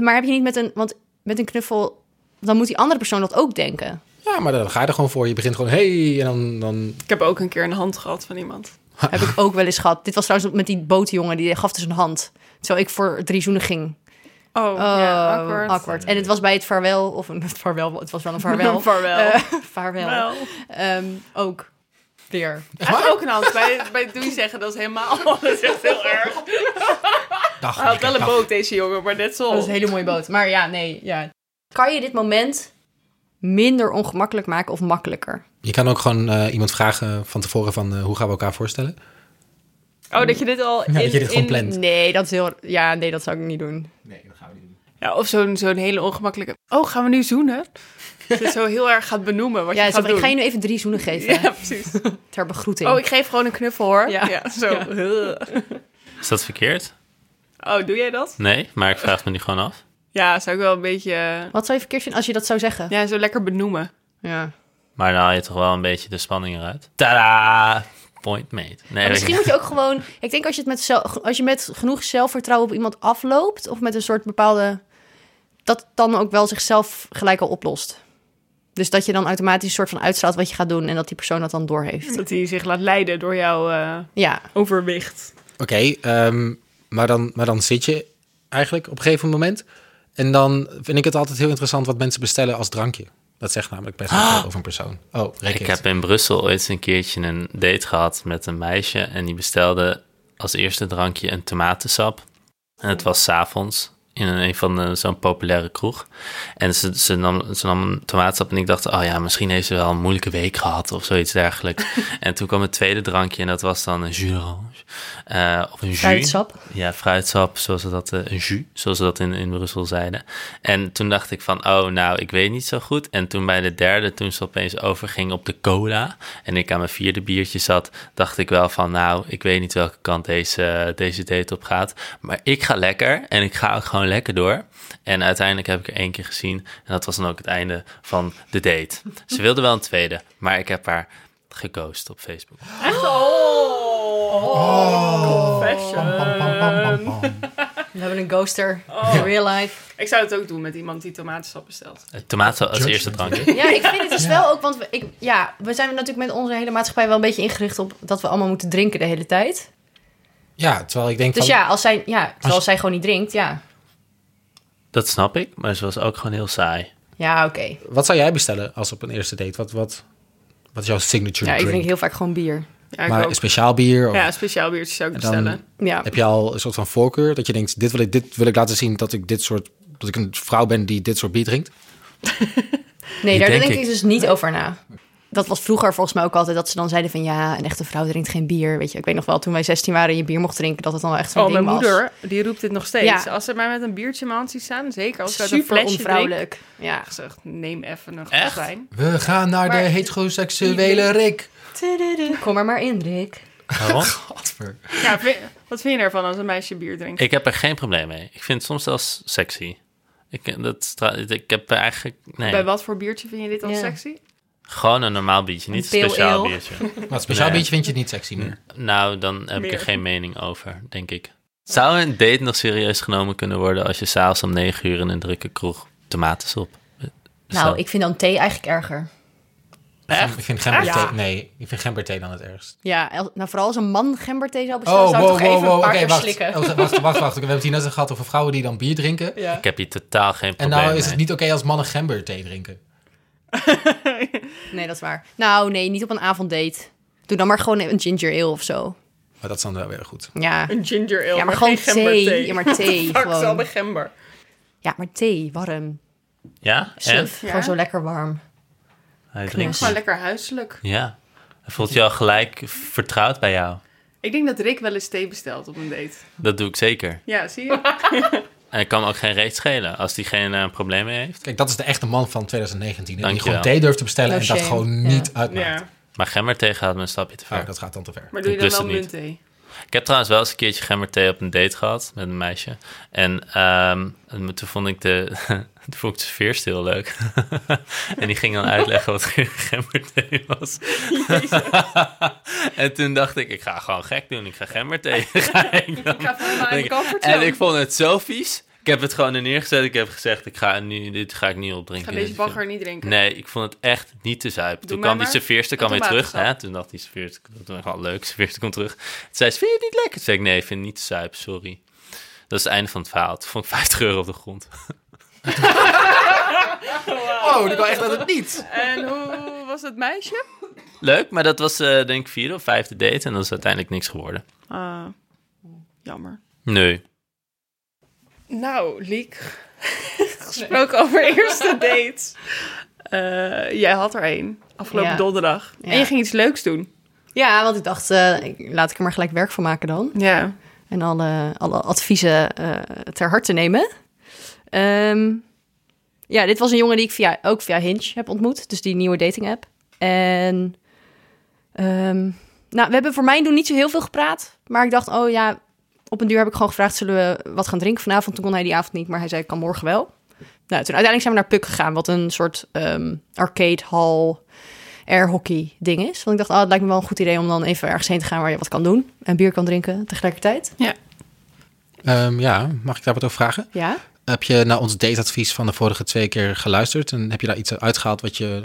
Speaker 5: Maar heb je niet met een, want met een knuffel, dan moet die andere persoon dat ook denken.
Speaker 1: Ja, maar dan ga je er gewoon voor. Je begint gewoon, hey, en dan... dan...
Speaker 4: Ik heb ook een keer een hand gehad van iemand.
Speaker 5: Heb ik ook wel eens gehad. Dit was trouwens met die bootjongen, die gaf dus een hand. Terwijl ik voor drie zoenen ging.
Speaker 4: Oh, ja, awkward.
Speaker 5: Ehm, En het was bij het vaarwel, of een het vaarwel, het was wel een vaarwel.
Speaker 4: Vaarwel.
Speaker 5: Eh, vaarwel.
Speaker 4: Wel.
Speaker 5: Ehm, ook. Weer.
Speaker 4: Hij had ook een hand. Bij, bij doei zeggen, dat is helemaal... Dat is echt heel erg.
Speaker 1: Dag,
Speaker 4: Hij had
Speaker 1: Mieke,
Speaker 4: Ah, wel een
Speaker 1: dag.
Speaker 4: boot, deze jongen, maar net
Speaker 5: Dat is
Speaker 4: zo.
Speaker 5: een hele mooie boot. Maar ja, nee. Ja. Kan je dit moment minder ongemakkelijk maken of makkelijker?
Speaker 1: Je kan ook gewoon eh, iemand vragen van tevoren van, eh, hoe gaan we elkaar voorstellen?
Speaker 4: Oh, dat je dit al in...
Speaker 1: Ja, dat je dit gewoon
Speaker 4: in-
Speaker 1: plant.
Speaker 5: Nee, dat is heel... Ja, nee, dat zou ik niet doen.
Speaker 4: Ja, of zo'n zo'n hele ongemakkelijke... Oh, gaan we nu zoenen? Dat je zo heel erg gaat benoemen wat
Speaker 5: ja,
Speaker 4: je
Speaker 5: zo
Speaker 4: gaat
Speaker 5: van,
Speaker 4: doen.
Speaker 5: ik ga je nu even drie zoenen geven.
Speaker 4: Ja, precies.
Speaker 5: Ter begroeting.
Speaker 4: Oh, ik geef gewoon een knuffel, hoor.
Speaker 5: Ja.
Speaker 4: zo.
Speaker 3: Is dat verkeerd?
Speaker 4: Oh, doe jij dat?
Speaker 3: Nee, maar ik vraag het me nu gewoon af.
Speaker 4: Ja, zou ik wel een beetje... eh,
Speaker 5: Wat zou je verkeerd vinden als je dat zou zeggen?
Speaker 4: Ja, zo lekker benoemen.
Speaker 5: Ja.
Speaker 3: Maar dan haal je toch wel een beetje de spanning eruit. Tada! Point made. Nee,
Speaker 5: Maar
Speaker 3: weet ik
Speaker 5: misschien
Speaker 3: niet.
Speaker 5: moet je ook gewoon... Ik denk als je, het met zel- als je met genoeg zelfvertrouwen op iemand afloopt... of met een soort bepaalde... dat het dan ook wel zichzelf gelijk al oplost. Dus dat je dan automatisch een soort van uitstraalt wat je gaat doen... en dat die persoon dat dan doorheeft.
Speaker 4: Dat hij zich laat leiden door jouw eh,
Speaker 5: Ja,
Speaker 4: overwicht.
Speaker 1: Oké, ehm, maar, dan, maar dan zit je eigenlijk op een gegeven moment. En dan vind ik het altijd heel interessant wat mensen bestellen als drankje. Dat zegt namelijk best wel
Speaker 5: Ah!
Speaker 1: veel over een persoon. Oh, Rick
Speaker 3: Ik
Speaker 1: heeft-
Speaker 3: heb in Brussel ooit een keertje een date gehad met een meisje. En die bestelde als eerste drankje een tomatensap. En het was s'avonds. in een een van de- zo'n populaire kroeg. En ze, ze, nam, ze nam een tomaatsap en ik dacht, oh ja, misschien heeft ze wel een moeilijke week gehad of zoiets dergelijks. en toen kwam het tweede drankje en dat was dan een jus d'orange. Eh, of een jus.
Speaker 5: Fruitsap.
Speaker 3: Ja, fruitsap, zoals ze dat, eh, een jus, zoals ze dat in, in Brussel zeiden. En toen dacht ik van, oh nou, ik weet niet zo goed. En toen bij de derde, toen ze opeens overging op de cola en ik aan mijn vierde biertje zat, dacht ik wel van, nou, ik weet niet welke kant deze, deze date op gaat. Maar ik ga lekker en ik ga ook gewoon lekker door. En uiteindelijk heb ik er één keer gezien en dat was dan ook het einde van de date. Ze wilde wel een tweede, maar ik heb haar geghost op Facebook.
Speaker 5: We hebben een ghoster in real life.
Speaker 4: Ik zou het ook doen met iemand die tomatensap bestelt.
Speaker 3: Eh, Tomaten als eerste drankje.
Speaker 5: Ja, ik vind het dus wel ook, want we, ik, ja, we zijn natuurlijk met onze hele maatschappij wel een beetje ingericht op dat we allemaal moeten drinken de hele tijd.
Speaker 1: Ja, terwijl ik denk
Speaker 5: Dus
Speaker 1: van...
Speaker 5: ja, als zij, ja, terwijl zij gewoon niet drinkt, ja.
Speaker 3: Dat snap ik, maar ze was ook gewoon heel saai.
Speaker 5: Ja, oké.
Speaker 1: Wat zou jij bestellen als op een eerste date? Wat, wat, wat is jouw signature
Speaker 5: Ja, ik
Speaker 1: drink?
Speaker 5: drink heel vaak gewoon bier.
Speaker 4: Ja, ik
Speaker 1: maar
Speaker 4: ook.
Speaker 1: een speciaal bier? Of
Speaker 4: ja, speciaal biertje zou ik
Speaker 1: En dan-
Speaker 4: bestellen.
Speaker 5: Ja.
Speaker 1: Heb je al een soort van voorkeur? Dat je denkt, dit wil ik, dit wil ik laten zien dat ik dit soort... Dat ik een vrouw ben die dit soort bier drinkt.
Speaker 5: Nee,
Speaker 3: Die
Speaker 5: daar
Speaker 3: denk
Speaker 5: denk ik.
Speaker 3: ik.
Speaker 5: dus niet over na. Dat was vroeger volgens mij ook altijd dat ze dan zeiden van ja, een echte vrouw drinkt geen bier. Weet je, ik weet nog wel toen wij 16 waren en je bier mocht drinken, dat het dan wel echt zo'n
Speaker 4: Oh,
Speaker 5: ding
Speaker 4: mijn
Speaker 5: was.
Speaker 4: moeder, die roept dit nog steeds.
Speaker 5: Ja.
Speaker 4: Als ze maar met een biertje in mijn hand ziet staan, zeker als ik uit een
Speaker 5: Super
Speaker 4: flesje drink.
Speaker 5: onvrouwelijk. Ja.
Speaker 4: Gezegd, neem even een
Speaker 3: Echt?
Speaker 4: glas wijn.
Speaker 1: We gaan naar
Speaker 4: Maar-
Speaker 1: de heteroseksuele Rick.
Speaker 5: Kom er maar in, Rick.
Speaker 3: Waarom?
Speaker 1: Godver.
Speaker 4: Ja, vind- wat vind je ervan als een meisje bier drinkt?
Speaker 3: Ik heb er geen probleem mee. Ik vind het soms zelfs sexy. Ik, dat, stra- ik heb eigenlijk...
Speaker 4: Bij
Speaker 3: Nee,
Speaker 4: wat voor biertje vind je dit dan
Speaker 5: Ja.
Speaker 4: sexy?
Speaker 3: gewoon een normaal biertje. Niet een
Speaker 5: Een pale
Speaker 3: speciaal
Speaker 5: ale.
Speaker 3: biertje.
Speaker 1: Maar het speciaal
Speaker 3: Nee.
Speaker 1: biertje vind je niet sexy meer.
Speaker 3: Nou, dan heb ik
Speaker 4: Meer.
Speaker 3: er geen mening over, denk ik. Zou een date nog serieus genomen kunnen worden... als je s'avonds om negen uur in een drukke kroeg tomatensop...
Speaker 5: Nou, ik vind dan thee eigenlijk erger.
Speaker 3: Echt?
Speaker 1: Ik vind gemberthee...
Speaker 5: Ja.
Speaker 1: Nee, ik vind gemberthee dan het ergst.
Speaker 5: Ja, el- nou vooral als een man gemberthee zou
Speaker 1: Oh,
Speaker 3: Oh,
Speaker 5: bestellen, zou ik toch even een paar keer
Speaker 1: wacht.
Speaker 5: slikken.
Speaker 1: Oh, wacht, wacht, wacht, We hebben het hier net gehad over vrouwen die dan bier drinken.
Speaker 5: Ja.
Speaker 3: Ik heb hier totaal geen
Speaker 1: En
Speaker 3: probleem
Speaker 1: nou is het
Speaker 3: mee.
Speaker 1: niet oké als mannen gemberthee drinken.
Speaker 5: Nee, dat is waar. Nou, nee, niet op een avonddate. Doe dan maar gewoon een ginger ale of zo.
Speaker 1: Maar dat is dan wel weer goed.
Speaker 5: Ja,
Speaker 4: Een ginger ale,
Speaker 5: ja maar
Speaker 4: geen
Speaker 5: gewoon
Speaker 4: gemberthee.
Speaker 5: thee. Ja, maar thee
Speaker 4: Fuck, zal
Speaker 5: gewoon.
Speaker 4: de gember.
Speaker 5: Ja, maar thee, warm.
Speaker 3: Ja? En?
Speaker 5: Suf,
Speaker 4: Ja?
Speaker 5: Gewoon zo lekker warm.
Speaker 3: Hij drinkt
Speaker 4: Maar
Speaker 3: niet.
Speaker 4: lekker huiselijk.
Speaker 3: Ja. Hij voelt je al gelijk vertrouwd bij jou.
Speaker 4: Ik denk dat Rick wel eens thee bestelt op een date.
Speaker 3: Dat doe ik zeker.
Speaker 4: Ja, zie je?
Speaker 3: En ik kan me ook geen reet schelen als diegene een probleem mee heeft.
Speaker 1: Kijk, dat is de echte man van 2019. hè, Die
Speaker 3: Dankjewel.
Speaker 1: gewoon thee durft te bestellen
Speaker 5: No
Speaker 1: en dat
Speaker 5: shame.
Speaker 1: gewoon
Speaker 5: Ja.
Speaker 1: niet uitmaakt.
Speaker 4: ja.
Speaker 3: Maar gemmerthee gaat me een stapje te ver.
Speaker 1: Oh, dat gaat dan te ver.
Speaker 4: Maar doe je
Speaker 3: Ik
Speaker 4: dan
Speaker 3: lust
Speaker 4: wel
Speaker 3: het niet.
Speaker 4: muntthee?
Speaker 3: Ik heb trouwens wel eens een keertje gemmerthee op een date gehad met een meisje. En ehm, en toen vond ik de, toen vond ik de sfeerst heel leuk. en die ging dan uitleggen wat gemmerthee was. en toen dacht ik, ik ga gewoon gek doen. Ik ga gemmerthee. ga ik dan-
Speaker 4: Ik ga voor
Speaker 3: Denk
Speaker 4: mijn
Speaker 3: ik- Eh,
Speaker 4: comfortzone.
Speaker 3: en ik vond het zo vies. Ik heb het gewoon er neergezet. Ik heb gezegd, ik ga nu, dit ga ik niet
Speaker 4: Ik ga
Speaker 3: opdrinken.
Speaker 4: deze
Speaker 3: Dit-
Speaker 4: bagger niet drinken.
Speaker 3: Nee, ik vond het echt niet te zuipen.
Speaker 4: Doe
Speaker 3: toen
Speaker 4: mij
Speaker 3: kwam die
Speaker 4: maar
Speaker 3: serveerster kwam
Speaker 4: een
Speaker 3: weer terug. Hè?
Speaker 4: tomatensap.
Speaker 3: Toen dacht die serveerster, dat was wel leuk. Serveerster komt terug. Toen zei ze, vind je het niet lekker? Toen zei ik, nee, ik vind het niet te zuipen, sorry. Dat is het einde van het verhaal. Toen vond ik 50 euro op de grond.
Speaker 1: Oh, dat kan echt dat het niet.
Speaker 4: En hoe was het meisje?
Speaker 3: Leuk, maar dat was eh, denk ik vierde of vijfde date. En dat is uiteindelijk niks geworden.
Speaker 4: Ah, jammer.
Speaker 3: Nee.
Speaker 4: Nou, Liek. Gesproken over eerste dates. Eh, jij had er één. Afgelopen
Speaker 5: Ja.
Speaker 4: donderdag.
Speaker 5: Ja.
Speaker 4: En je ging iets leuks doen.
Speaker 5: Ja, want ik dacht, eh, ik- laat ik er maar gelijk werk van maken dan.
Speaker 4: Ja.
Speaker 5: En alle, alle adviezen eh, ter harte nemen. Ehm, ja, dit was een jongen die ik via, ook via Hinge heb ontmoet. Dus die nieuwe dating app. En ehm, nou, we hebben voor mijn doen niet zo heel veel gepraat. Maar ik dacht, oh ja, op een duur heb ik gewoon gevraagd... zullen we wat gaan drinken vanavond? Toen kon hij die avond niet, maar hij zei, ik kan morgen wel. Nou, toen uiteindelijk zijn we naar Puk gegaan. Wat een soort ehm, arcade hall air hockey ding is. Want ik dacht, ah, het lijkt me wel een goed idee om dan even ergens heen te gaan... waar je wat kan doen en bier kan drinken tegelijkertijd.
Speaker 1: Ehm, ja, mag ik daar wat over vragen?
Speaker 5: Ja.
Speaker 1: Heb je naar ons dateadvies van de vorige twee keer geluisterd? En heb je daar iets uitgehaald wat je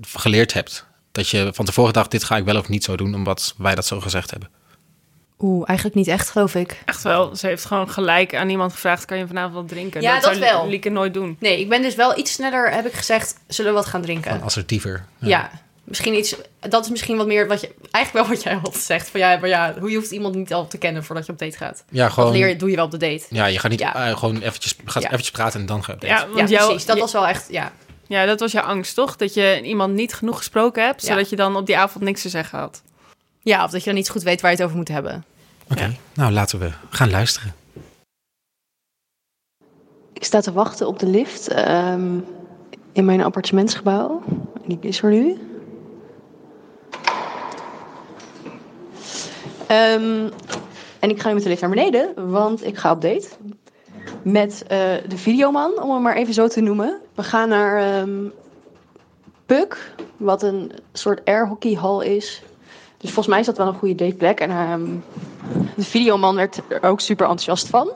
Speaker 1: geleerd hebt? Dat je van tevoren dacht, dit ga ik wel of niet zo doen, omdat wij dat zo gezegd hebben.
Speaker 5: Oeh, eigenlijk niet echt, geloof ik.
Speaker 4: Echt wel. Ze heeft gewoon gelijk aan iemand gevraagd: kan je vanavond wat drinken?
Speaker 5: Ja, dat
Speaker 4: zou
Speaker 5: wel.
Speaker 4: Lieke nooit doen.
Speaker 1: Oh,
Speaker 5: Nee, ik ben dus wel iets sneller, heb ik gezegd, zullen we wat gaan drinken?
Speaker 1: Van assertiever.
Speaker 5: ja. Misschien iets, dat is misschien wat meer wat je, eigenlijk wel wat jij altijd zegt. Van ja, maar ja, hoe je hoeft iemand niet al te kennen voordat je op date gaat.
Speaker 1: Ja,
Speaker 5: Dat leer
Speaker 1: gewoon.
Speaker 5: je, doe je wel op de date.
Speaker 1: Ja, je gaat niet
Speaker 5: Ja.
Speaker 1: eh, gewoon eventjes, gaat
Speaker 5: Ja.
Speaker 1: eventjes praten en dan gaan we op date.
Speaker 4: Ja,
Speaker 5: Ja,
Speaker 4: want jouw-
Speaker 5: precies. Dat
Speaker 4: je-
Speaker 5: was wel echt, ja.
Speaker 4: Ja, dat was jouw angst, toch? Dat je iemand niet genoeg gesproken hebt,
Speaker 5: Ja.
Speaker 4: zodat je dan op die avond niks te zeggen had.
Speaker 5: Ja, of dat je dan niet zo goed weet waar je het over moet hebben.
Speaker 1: Oké, nou laten we gaan luisteren.
Speaker 2: Ik sta te wachten op de lift ehm, in mijn appartementsgebouw. En die is er nu. Ehm, en ik ga nu met de lift naar beneden, want ik ga op date met eh, de videoman, om hem maar even zo te noemen. We gaan naar ehm Puk, wat een soort airhockeyhal is. Dus volgens mij is dat wel een goede dateplek. En ehm, de videoman werd er ook super enthousiast van.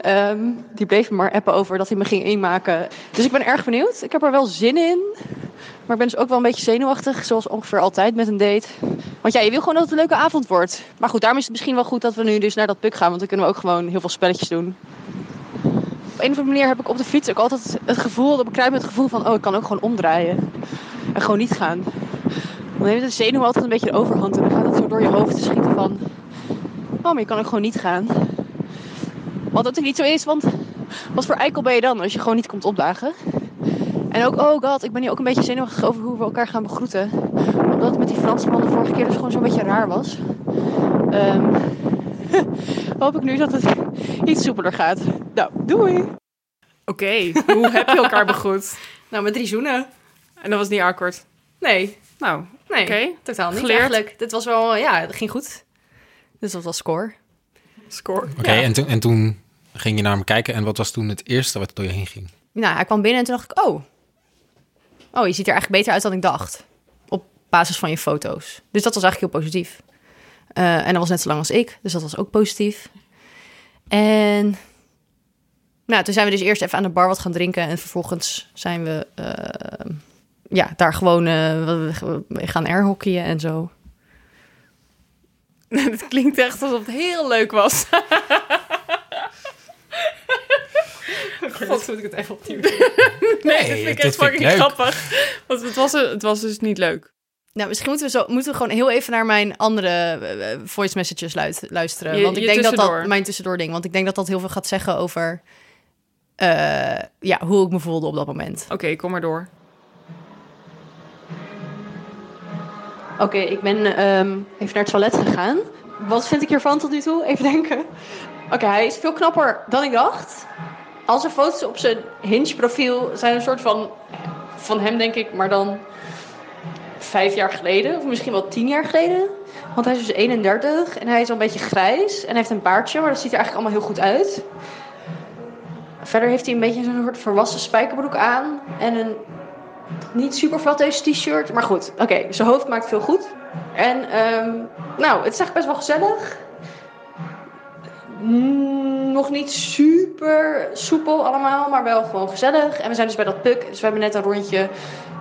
Speaker 2: Ehm, die bleef me maar appen over dat hij me ging inmaken. Dus ik ben erg benieuwd. Ik heb er wel zin in. Maar ik ben dus ook wel een beetje zenuwachtig, zoals ongeveer altijd met een date. Want ja, je wil gewoon dat het een leuke avond wordt. Maar goed, daarom is het misschien wel goed dat we nu dus naar dat puk gaan. Want dan kunnen we ook gewoon heel veel spelletjes doen. Op een of andere manier heb ik op de fiets ook altijd het gevoel, dat bekruipt me het gevoel van... Oh, ik kan ook gewoon omdraaien. En gewoon niet gaan. Dan heeft de zenuw altijd een beetje de overhand. En dan gaat het zo door je hoofd te schieten van... Oh, maar je kan ook gewoon niet gaan. Wat natuurlijk niet zo is, want wat voor eikel ben je dan als je gewoon niet komt opdagen? En ook, oh god, ik ben hier ook een beetje zenuwachtig over hoe we elkaar gaan begroeten. Omdat het met die Fransman de vorige keer dus gewoon zo'n beetje raar was. Ehm, hoop ik nu dat het iets soepeler gaat. Nou, doei!
Speaker 4: Oké, hoe heb je elkaar begroet?
Speaker 5: Nou, met drie zoenen.
Speaker 4: En dat was niet awkward.
Speaker 5: Nee,
Speaker 4: Nou,
Speaker 5: nee.
Speaker 4: oké.
Speaker 5: Totaal niet
Speaker 4: Geleerd.
Speaker 5: eigenlijk. Dit was wel, ja, het ging goed. Dus dat was score.
Speaker 4: Score.
Speaker 1: Oké, en, toen, en toen ging je naar hem kijken en wat was toen het eerste wat door je heen ging?
Speaker 5: Nou, hij kwam binnen en toen dacht ik, oh. Oh, je ziet er eigenlijk beter uit dan ik dacht. Op basis van je foto's. Dus dat was eigenlijk heel positief. Eh, en dat was net zo lang als ik, dus dat was ook positief. En nou, toen zijn we dus eerst even aan de bar wat gaan drinken. En vervolgens zijn we eh, ja, daar gewoon eh, we- we- we gaan airhockeyen en zo.
Speaker 4: Het klinkt echt alsof het heel leuk was.
Speaker 5: God, moet ik het even opnieuw
Speaker 4: Nee, dat
Speaker 1: dit
Speaker 4: vind ik
Speaker 1: vind
Speaker 4: echt
Speaker 1: ik
Speaker 4: fucking
Speaker 1: leuk.
Speaker 4: grappig. Want het was, het was dus niet leuk.
Speaker 5: Nou, misschien moeten we, zo, moeten we gewoon heel even naar mijn andere eh, eh, voice messages luid- luisteren.
Speaker 4: Je-
Speaker 5: want ik
Speaker 4: je
Speaker 5: denk dat dat
Speaker 4: tussendoor.
Speaker 5: mijn tussendoor ding. Want ik denk dat dat heel veel gaat zeggen over eh, ja, hoe ik me voelde op dat moment.
Speaker 4: Oké, kom maar door.
Speaker 2: Oké, ik ben ehm, even naar het toilet gegaan. Wat vind ik hiervan tot nu toe? Even denken. Oké, hij is veel knapper dan ik dacht. Al zijn foto's op zijn Hinge-profiel zijn een soort van... Van hem denk ik, maar dan vijf jaar geleden. Of misschien wel tien jaar geleden. Want hij is dus 31 en hij is al een beetje grijs. En hij heeft een baardje, maar dat ziet er eigenlijk allemaal heel goed uit. Verder heeft hij een beetje zo'n soort verwassen spijkerbroek aan. En een niet super flat deze t-shirt. Maar goed, oké, zijn hoofd maakt veel goed. En ehm, nou, het is echt best wel gezellig. Mm, nog niet super soepel allemaal, maar wel gewoon gezellig. En we zijn dus bij dat puk. Dus we hebben net een rondje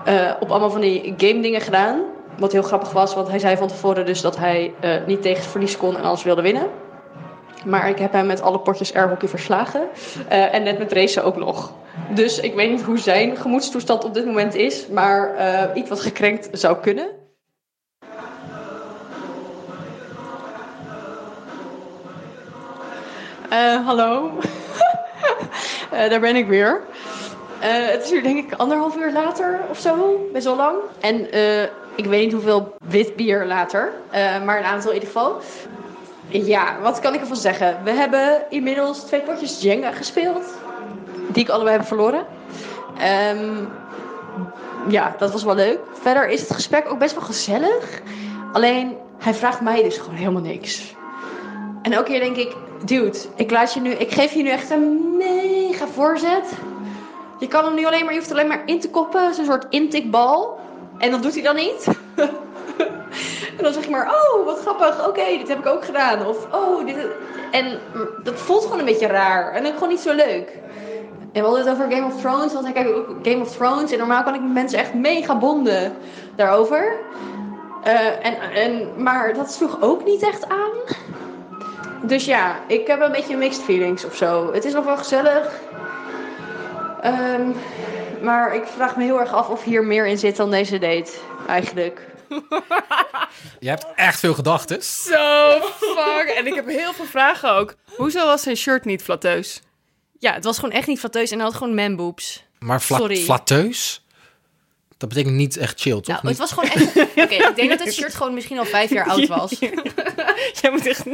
Speaker 2: eh, op allemaal van die game dingen gedaan. Wat heel grappig was, want hij zei van tevoren dus dat hij eh, niet tegen het verlies kon en alles wilde winnen. Maar ik heb hem met alle potjes airhockey verslagen. Eh, en net met racen ook nog. Dus ik weet niet hoe zijn gemoedstoestand op dit moment is. Maar eh, iets wat gekrenkt zou kunnen. Eh, hallo. Eh, daar ben ik weer. Eh, het is nu denk ik anderhalf uur later of zo. Best wel lang. En eh, ik weet niet hoeveel wit bier later. eh, maar een aantal in ieder geval. Ja, wat kan ik ervan zeggen? We hebben inmiddels twee potjes Jenga gespeeld. Die ik allebei heb verloren. Ehm, ja, dat was wel leuk. Verder is het gesprek ook best wel gezellig. Alleen, hij vraagt mij dus gewoon helemaal niks. En elke keer denk ik, dude, ik, laat je nu, ik geef je nu echt een mega voorzet. Je kan hem nu alleen maar, je hoeft alleen maar in te koppen. Zo'n soort intikbal. En dat doet hij dan niet. En dan zeg je maar, oh, wat grappig, oké, dit heb ik ook gedaan. Of, oh, dit... En mm, dat voelt gewoon een beetje raar. En ook gewoon niet zo leuk. En we hadden het over Game of Thrones, want ik kijk ook Game of Thrones. En normaal kan ik met mensen echt mega bonden daarover. Eh, en, en, maar dat sloeg ook niet echt aan. Dus ja, ik heb een beetje mixed feelings of zo. Het is nog wel gezellig. Ehm, Maar ik vraag me heel erg af of hier meer in zit dan deze date, eigenlijk.
Speaker 1: Je hebt echt veel gedachten.
Speaker 4: Zo fuck. En ik heb heel veel vragen ook. Hoezo was zijn shirt niet flatteus?
Speaker 5: Ja, het was gewoon echt niet flatteus en hij had gewoon manboobs.
Speaker 1: Maar fla
Speaker 5: Sorry.
Speaker 1: flatteus? Dat betekent niet echt chill, toch?
Speaker 5: Nou,
Speaker 1: Niet-
Speaker 5: het was gewoon echt... Oké, ik denk dat het shirt gewoon misschien al vijf jaar oud was.
Speaker 4: Jij moet echt...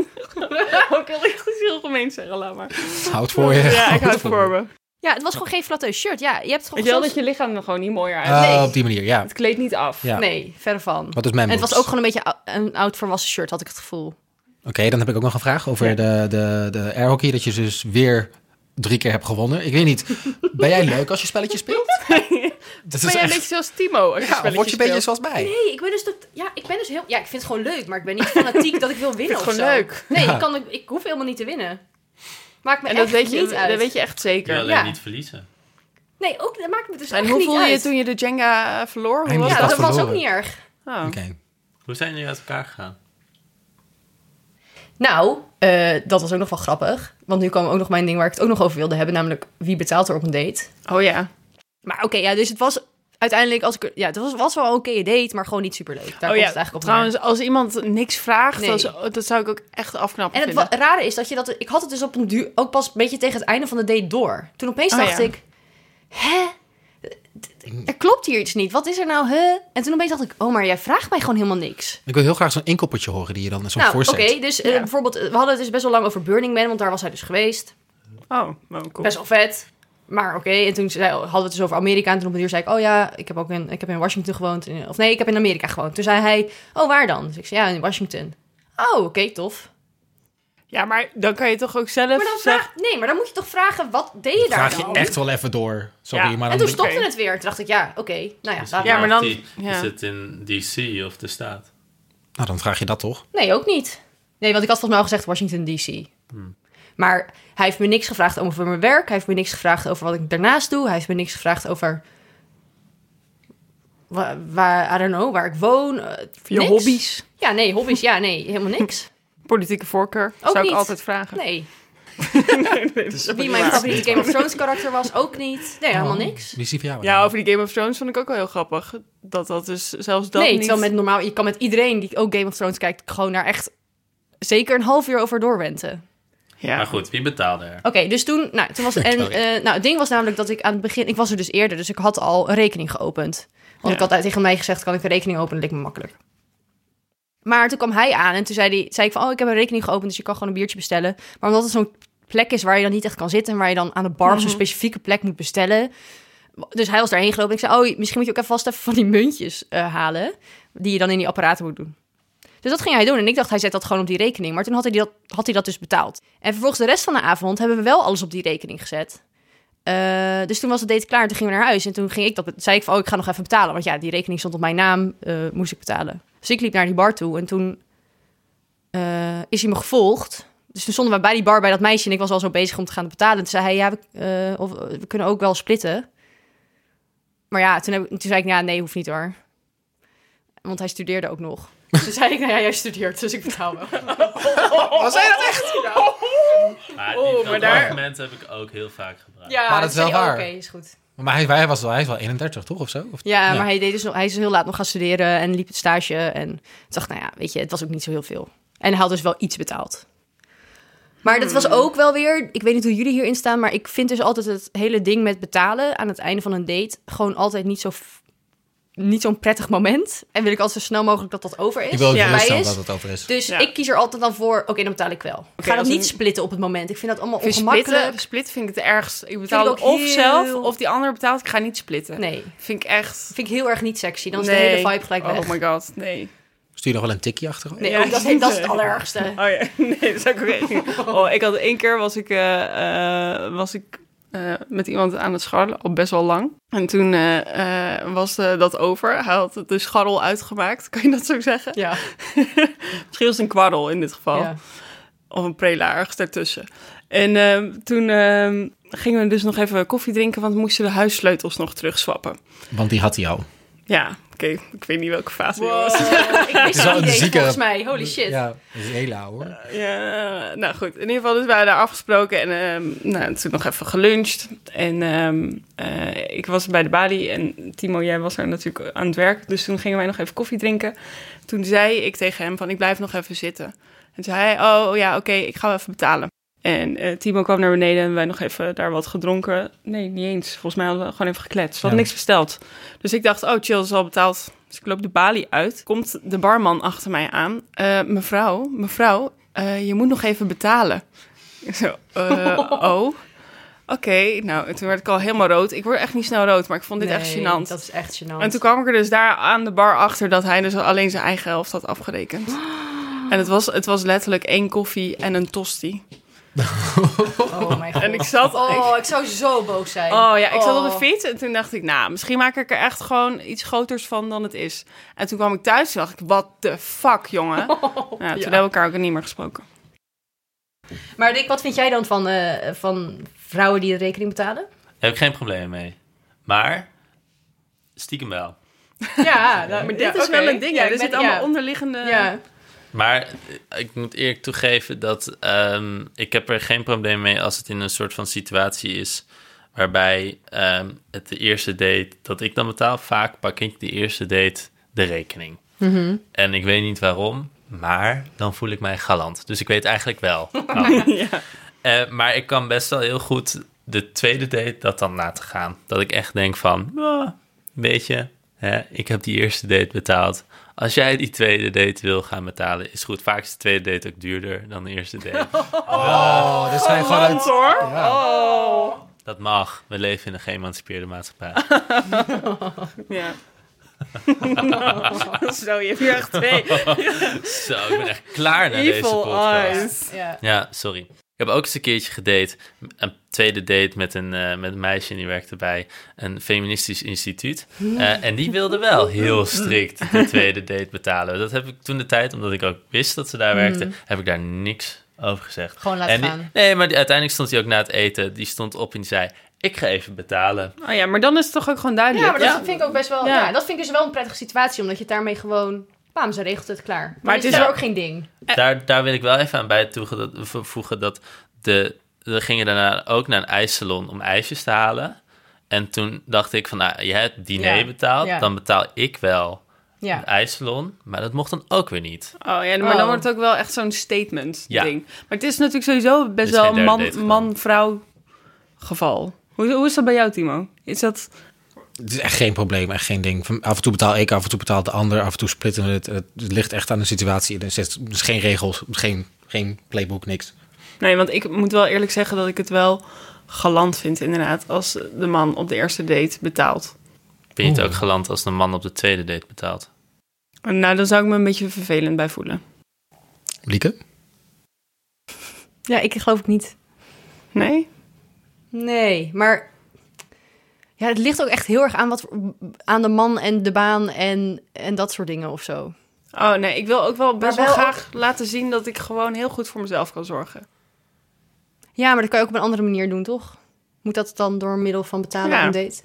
Speaker 4: ook al echt iets heel gemeen zeggen, laat maar.
Speaker 1: Houd voor je.
Speaker 4: Ja, ik hou het voor me.
Speaker 5: Ja, het was gewoon geen flatteus shirt. Ja, je hebt
Speaker 6: Weet
Speaker 5: gewoon...
Speaker 6: je wel dat
Speaker 5: zelfs-
Speaker 6: je lichaam er gewoon niet mooier uit.
Speaker 1: Eh,
Speaker 5: Nee.
Speaker 1: Op die manier, ja.
Speaker 6: Het kleedt niet af.
Speaker 1: ja.
Speaker 5: Nee, verre van.
Speaker 1: Wat is mijn
Speaker 5: En het was
Speaker 1: moves?
Speaker 5: ook gewoon een beetje ou- een oud volwassen shirt, had ik het gevoel.
Speaker 1: Oké, dan heb ik ook nog een vraag over de, de, de air hockey. Dat je dus weer drie keer hebt gewonnen. Ik weet niet, ben jij leuk als je spelletjes speelt? dat
Speaker 4: Ben
Speaker 1: is
Speaker 4: jij een
Speaker 1: echt...
Speaker 4: beetje zoals Timo? Als je
Speaker 1: Ja, of word je een beetje
Speaker 4: spelletjes
Speaker 1: zoals mij?
Speaker 5: Nee, ik ben dus dat. Ja, ik ben dus heel. Ja, ik vind het gewoon leuk, maar ik ben niet fanatiek dat ik wil winnen.
Speaker 4: het
Speaker 5: of
Speaker 4: gewoon
Speaker 5: zo.
Speaker 4: leuk.
Speaker 5: Nee,
Speaker 1: Ja.
Speaker 5: ik, kan, ook- ik hoef helemaal niet te winnen. Maakt me
Speaker 4: En dat
Speaker 5: echt
Speaker 4: weet, je,
Speaker 5: niet uit.
Speaker 4: dat weet je echt
Speaker 3: Je wil
Speaker 4: zeker.
Speaker 3: alleen
Speaker 5: Ja.
Speaker 3: niet verliezen.
Speaker 5: Nee, ook dat maakt me dus
Speaker 4: En
Speaker 5: echt
Speaker 4: hoe
Speaker 5: niet
Speaker 4: voelde je
Speaker 5: uit.
Speaker 4: toen je de Jenga eh, verloor? Hoe
Speaker 1: Hij
Speaker 4: was
Speaker 5: Ja,
Speaker 1: moest
Speaker 4: dat?
Speaker 5: dat
Speaker 1: dat
Speaker 5: was ook
Speaker 1: verloren?
Speaker 5: niet erg.
Speaker 4: Oh.
Speaker 1: Oké.
Speaker 3: Hoe zijn jullie uit elkaar gegaan?
Speaker 5: Nou, eh, dat was ook nog wel grappig. Want nu kwam ook nog mijn ding waar ik het ook nog over wilde hebben, namelijk wie betaalt er op een date.
Speaker 4: Oh ja.
Speaker 5: Maar oké, ja, dus het was uiteindelijk als ik. er- Ja, het was, was wel een oké date, maar gewoon niet superleuk.
Speaker 4: oh
Speaker 5: Daar komt
Speaker 4: ja.
Speaker 5: het eigenlijk op neer.
Speaker 4: Trouwens, als iemand niks vraagt,
Speaker 5: Nee.
Speaker 4: dan zou- dat zou ik ook echt afknappen
Speaker 5: En het wa-
Speaker 4: vinden.
Speaker 5: rare is dat je dat... Ik had het dus op een duur ook pas een beetje tegen het einde van de date door. Toen opeens
Speaker 4: Oh,
Speaker 5: dacht
Speaker 4: ja.
Speaker 5: ik... Hè? Er klopt hier iets niet. Wat is er nou? Hè? En toen opeens dacht ik... Oh, maar jij vraagt mij gewoon helemaal niks.
Speaker 1: Ik wil heel graag zo'n inkoppertje horen die je dan zo'n
Speaker 5: nou, oké.
Speaker 1: voorzet.
Speaker 5: dus eh,
Speaker 4: Ja.
Speaker 5: bijvoorbeeld... We hadden het dus best wel lang over Burning Man. Want daar was hij dus geweest.
Speaker 4: Oh, nou, cool.
Speaker 5: Best wel vet. Maar oké. en toen zei, hadden we het dus over Amerika. En toen op een duur zei ik... Oh ja, ik heb ook in, ik heb in Washington gewoond. in- Of nee, ik heb in Amerika gewoond. Toen zei hij... Oh, waar dan? Dus ik zei... Ja, in Washington. Oh, oké, tof.
Speaker 4: Ja, maar dan kan je toch ook zelf
Speaker 5: Maar dan
Speaker 4: zeggen...
Speaker 5: vraag... Nee, maar dan moet je toch vragen... Wat deed je daar
Speaker 1: Vraag je
Speaker 5: dan?
Speaker 1: echt wel even door. Sorry,
Speaker 4: Ja,
Speaker 1: maar
Speaker 5: En
Speaker 1: dan...
Speaker 5: toen
Speaker 4: stop-
Speaker 5: stopte het weer. Toen dacht ik, ja, oké. Nou ja,
Speaker 3: Is het
Speaker 5: laat
Speaker 4: Dus Ja,
Speaker 5: maar.
Speaker 4: maar
Speaker 3: of
Speaker 4: dan-
Speaker 3: die-
Speaker 4: ja.
Speaker 3: Is het in DC of de staat?
Speaker 1: Nou, dan vraag je dat toch?
Speaker 5: Nee, ook niet. Nee, want ik had volgens mij al gezegd Washington D.C.
Speaker 4: Hmm.
Speaker 5: Maar hij heeft me niks gevraagd over mijn werk. Hij heeft me niks gevraagd over wat ik daarnaast doe. Hij heeft me niks gevraagd over... wa- Waar, I don't know, waar ik woon. eh,
Speaker 4: Je
Speaker 5: niks.
Speaker 4: hobby's.
Speaker 5: Ja, nee, hobby's. Ja, nee, helemaal niks.
Speaker 4: Politieke voorkeur.
Speaker 5: Ook
Speaker 4: zou
Speaker 5: niet.
Speaker 4: ik altijd vragen.
Speaker 5: Nee.
Speaker 4: Nee, dat is
Speaker 5: Wie
Speaker 4: niet
Speaker 5: mijn
Speaker 4: waar.
Speaker 5: favoriete Game of Thrones karakter was, ook niet.
Speaker 4: Oh.
Speaker 5: Nee, helemaal niks.
Speaker 1: Wie is die voor jou?
Speaker 4: Ja, over die Game of Thrones vond ik ook wel heel grappig. Dat dat dus zelfs dat
Speaker 5: nee,
Speaker 4: niet...
Speaker 5: terwijl met normaal... Je kan met iedereen die ook Game of Thrones kijkt... gewoon daar echt zeker een half uur over doorwenten.
Speaker 4: Ja.
Speaker 3: Maar goed, wie betaalde er?
Speaker 5: Oké, dus toen, nou, toen was en eh, nou, het ding was namelijk dat ik aan het begin, ik was er dus eerder, dus ik had al een rekening geopend. Want ik
Speaker 4: Ja.
Speaker 5: had altijd tegen mij gezegd, kan ik een rekening openen? Dat leek me makkelijk. Maar toen kwam hij aan en toen zei, hij, zei ik van, oh, ik heb een rekening geopend, dus je kan gewoon een biertje bestellen. Maar omdat het zo'n plek is waar je dan niet echt kan zitten en waar je dan aan de bar op zo'n specifieke plek moet bestellen. Dus hij was daarheen gelopen en ik zei, oh, misschien moet je ook even vast even van die muntjes eh, halen, die je dan in die apparaten moet doen. Dus dat ging hij doen. En ik dacht, hij zet dat gewoon op die rekening. Maar toen had hij dat, had hij dat dus betaald. En vervolgens de rest van de avond hebben we wel alles op die rekening gezet. Eh, dus toen was het date klaar. en Toen gingen we naar huis. En toen ging ik dat, zei ik van, oh, ik ga nog even betalen. Want ja, die rekening stond op mijn naam. eh, moest ik betalen. Dus ik liep naar die bar toe. En toen eh, is hij me gevolgd. Dus toen stonden we bij die bar bij dat meisje. En ik was al zo bezig om te gaan betalen. En toen zei hij, ja, we, eh, of, eh, we kunnen ook wel splitten. Maar ja, toen, heb ik, toen zei ik, ja, nee, hoeft niet hoor. Want hij studeerde ook nog. Toen zei ik, nou ja, jij studeert, dus ik betaal wel.
Speaker 1: Was hij dat echt?
Speaker 3: Maar
Speaker 4: Oh,
Speaker 3: die,
Speaker 4: maar
Speaker 3: dat
Speaker 4: daar-
Speaker 3: argument heb ik ook heel vaak gebruikt.
Speaker 5: Ja,
Speaker 1: Maar dat is
Speaker 5: toen zei
Speaker 1: wel
Speaker 5: hij,
Speaker 1: waar.
Speaker 5: oh, Oké, is goed.
Speaker 1: Maar hij, hij was wel, hij is wel 31, toch? Of zo? Of-
Speaker 5: Ja,
Speaker 1: Ja.
Speaker 5: maar hij, deed dus nog, hij is heel laat nog gaan studeren en liep het stage. En toen dacht, ik, nou ja, weet je, het was ook niet zo heel veel. En hij had dus wel iets betaald. Maar dat
Speaker 1: Hmm.
Speaker 5: was ook wel weer, ik weet niet hoe jullie hierin staan, maar ik vind dus altijd het hele ding met betalen aan het einde van een date gewoon altijd niet zo f- niet zo'n prettig moment. En wil ik altijd zo snel mogelijk dat dat over is.
Speaker 1: Ik wil ook
Speaker 4: Ja.
Speaker 5: voorbij
Speaker 1: geruststellen
Speaker 5: is.
Speaker 1: dat het over is.
Speaker 5: Dus
Speaker 4: Ja.
Speaker 5: ik kies er altijd dan voor, oké, dan betaal ik wel. Ik ga dat
Speaker 4: als
Speaker 5: niet
Speaker 4: een-
Speaker 5: splitten op het moment. Ik vind dat allemaal
Speaker 4: Vind je
Speaker 5: ongemakkelijk.
Speaker 4: splitten, split vind ik het ergst. Ik betaal
Speaker 5: Vind ik ook
Speaker 4: of
Speaker 5: heel-
Speaker 4: zelf of die ander betaalt. Ik ga niet splitten.
Speaker 5: Nee.
Speaker 4: Vind ik echt...
Speaker 5: Vind ik heel erg niet sexy. Dan is
Speaker 4: Nee.
Speaker 5: de hele vibe gelijk weg.
Speaker 4: Oh my god, nee.
Speaker 1: Stuur je nog wel een tikje achterover?
Speaker 5: Nee,
Speaker 4: Ja,
Speaker 5: ook dat, dat is het
Speaker 4: nee.
Speaker 5: allerergste.
Speaker 4: Oh ja, nee, dat zou ik ook echt niet. Oh, ik had één keer was ik, eh, eh, was ik eh, met iemand aan het scharrelen, al best wel lang. En toen eh, eh, was eh, dat over. Hij had de scharrel uitgemaakt, kan je dat zo zeggen?
Speaker 5: Ja.
Speaker 4: Misschien was het een kwarrel in dit geval.
Speaker 5: Ja.
Speaker 4: Of een prela, ergens daartussen. En ehm, toen ehm, gingen we dus nog even koffie drinken, want we moesten de huissleutels nog terugswappen.
Speaker 1: Want die had hij al.
Speaker 4: Ja, oké. Ik weet niet welke fase dit was.
Speaker 5: ik wist
Speaker 1: is wel een
Speaker 5: het niet eens,
Speaker 1: zieke-
Speaker 5: volgens mij. Holy shit.
Speaker 1: Ja, dat is heel lauw hoor.
Speaker 4: Ja, nou goed. In ieder geval, dus we hadden afgesproken en ehm nou, toen nog even geluncht. En ehm, eh, ik was bij de balie en Timo, jij was er natuurlijk aan het werk. Dus toen gingen wij nog even koffie drinken. Toen zei ik tegen hem van, ik blijf nog even zitten. En toen zei hij, oh ja, oké, ik ga wel even betalen. En eh, Timo kwam naar beneden en wij nog even daar wat gedronken. Nee, niet eens. Volgens mij hadden we gewoon even gekletst. We hadden
Speaker 1: Ja.
Speaker 4: niks besteld. Dus ik dacht, oh chill, is al betaald. Dus ik loop de balie uit. Komt de barman achter mij aan. Eh, mevrouw, mevrouw, eh, je moet nog even betalen. Ik Zo, eh, oh. Oké, nou, en toen werd ik al helemaal rood. Ik word echt niet snel rood, maar ik vond dit echt
Speaker 5: Nee,
Speaker 4: gênant.
Speaker 5: Dat is echt gênant.
Speaker 4: En toen kwam ik er dus daar aan de bar achter dat hij dus alleen zijn eigen helft had afgerekend. En het was, het was letterlijk één koffie en een tosti.
Speaker 5: Oh mijn god.
Speaker 4: En ik zat, ik-
Speaker 5: Oh, ik zou zo boos zijn.
Speaker 4: Oh ja, ik zat op
Speaker 5: Oh.
Speaker 4: de fiets en toen dacht ik, nou, misschien maak ik er echt gewoon iets groters van dan het is. En toen kwam ik thuis en dacht ik, wat de fuck, jongen. Nou, toen
Speaker 5: Ja.
Speaker 4: hebben we elkaar ook niet meer gesproken.
Speaker 5: Maar Dick, wat vind jij dan van, eh, van vrouwen die de rekening betalen?
Speaker 3: Heb ik geen probleem mee. Maar stiekem wel.
Speaker 5: Ja,
Speaker 4: Maar dit is wel een ding, ja, er zit allemaal eh, onderliggende...
Speaker 5: Ja.
Speaker 3: Maar eh, ik moet eerlijk toegeven dat ehm, ik heb er geen probleem mee als het in een soort van situatie is waarbij ehm, het de eerste date dat ik dan betaal. Vaak pak ik de eerste date de rekening. En ik weet niet waarom, maar dan voel ik mij galant. Dus ik weet eigenlijk wel. Nou, waarom. Eh, maar ik kan best wel heel goed de tweede date dat dan laten gaan. Dat ik echt denk van, ah, weet je, hè, ik heb die eerste date betaald. Als jij die tweede date wil gaan betalen, is goed. Vaak is de tweede date ook duurder dan de eerste date.
Speaker 1: Oh, dat zijn gewoon uit...
Speaker 4: hoor.
Speaker 1: Ja.
Speaker 3: Dat mag. We leven in een geëmancipeerde maatschappij.
Speaker 4: Ja. Zo, je hebt hier echt twee
Speaker 3: Zo, ik ben echt klaar naar deze
Speaker 4: evil
Speaker 3: podcast.
Speaker 4: eyes.
Speaker 5: Ja.
Speaker 3: Ja, sorry. Ik heb ook eens een keertje gedate. Een tweede date met een, eh, met een meisje en die werkte bij een feministisch instituut. Eh, en die wilde wel heel strikt de tweede date betalen. Dat heb ik toen de tijd, omdat ik ook wist dat ze daar werkte, heb ik daar niks over gezegd.
Speaker 5: Mhm. Gewoon laten
Speaker 3: En die-
Speaker 5: gaan.
Speaker 3: Nee, maar die- uiteindelijk stond hij ook na het eten. Die stond op en die zei: Ik ga even betalen.
Speaker 4: Oh ja, maar dan is het toch ook gewoon duidelijk.
Speaker 5: Ja, maar dat vind ik ook best wel. Ja.
Speaker 4: Ja.
Speaker 5: dat vind ik dus wel een prettige situatie, omdat je daarmee gewoon. Bam, ze regelt het klaar. Dan
Speaker 4: Maar
Speaker 5: is
Speaker 4: het
Speaker 5: het
Speaker 4: is
Speaker 5: is
Speaker 4: ook-
Speaker 5: ook geen ding.
Speaker 3: Daar, daar wil ik wel even aan bij toege- dat- voegen dat de, we gingen daarna ook naar een ijssalon om ijsjes te halen. En toen dacht ik van, nou, jij hebt het diner
Speaker 5: Ja,
Speaker 3: betaald,
Speaker 5: ja.
Speaker 3: dan betaal ik wel
Speaker 5: Ja.
Speaker 3: het ijssalon. Maar dat mocht dan ook weer niet.
Speaker 4: Oh ja, maar
Speaker 5: Oh.
Speaker 4: dan wordt het ook wel echt zo'n statement
Speaker 3: Ja.
Speaker 4: ding. Maar het is natuurlijk sowieso best
Speaker 3: is geen
Speaker 4: wel een
Speaker 3: derde date
Speaker 4: man,
Speaker 3: gewoon.
Speaker 4: man-vrouw geval. Hoe, hoe is dat bij jou, Timo? Is dat...
Speaker 1: Het is echt geen probleem, echt geen ding. Van, af en toe betaal ik, af en toe betaalt de ander, af en toe splitten we het. Het ligt echt aan de situatie. Er is dus geen regels, geen, geen playbook, niks.
Speaker 4: Nee, want ik moet wel eerlijk zeggen dat ik het wel galant vind inderdaad... als de man op de eerste date betaalt.
Speaker 3: Vind je het
Speaker 1: Oeh.
Speaker 3: ook geland als een man op de tweede date betaalt?
Speaker 4: En Nou, dan zou ik me een beetje vervelend bij voelen.
Speaker 1: Lieke?
Speaker 5: ja, ik geloof het niet.
Speaker 4: Nee?
Speaker 5: Nee, maar. Ja, het ligt ook echt heel erg aan, wat, aan de man en de baan en, en dat soort dingen of zo.
Speaker 4: Oh nee, ik wil ook wel best wel
Speaker 5: wel
Speaker 4: graag laten zien... dat ik gewoon heel goed voor mezelf kan zorgen.
Speaker 5: Ja, maar dat kan je ook op een andere manier doen, toch? Moet dat dan door middel van betalen
Speaker 4: Ja.
Speaker 5: aan date?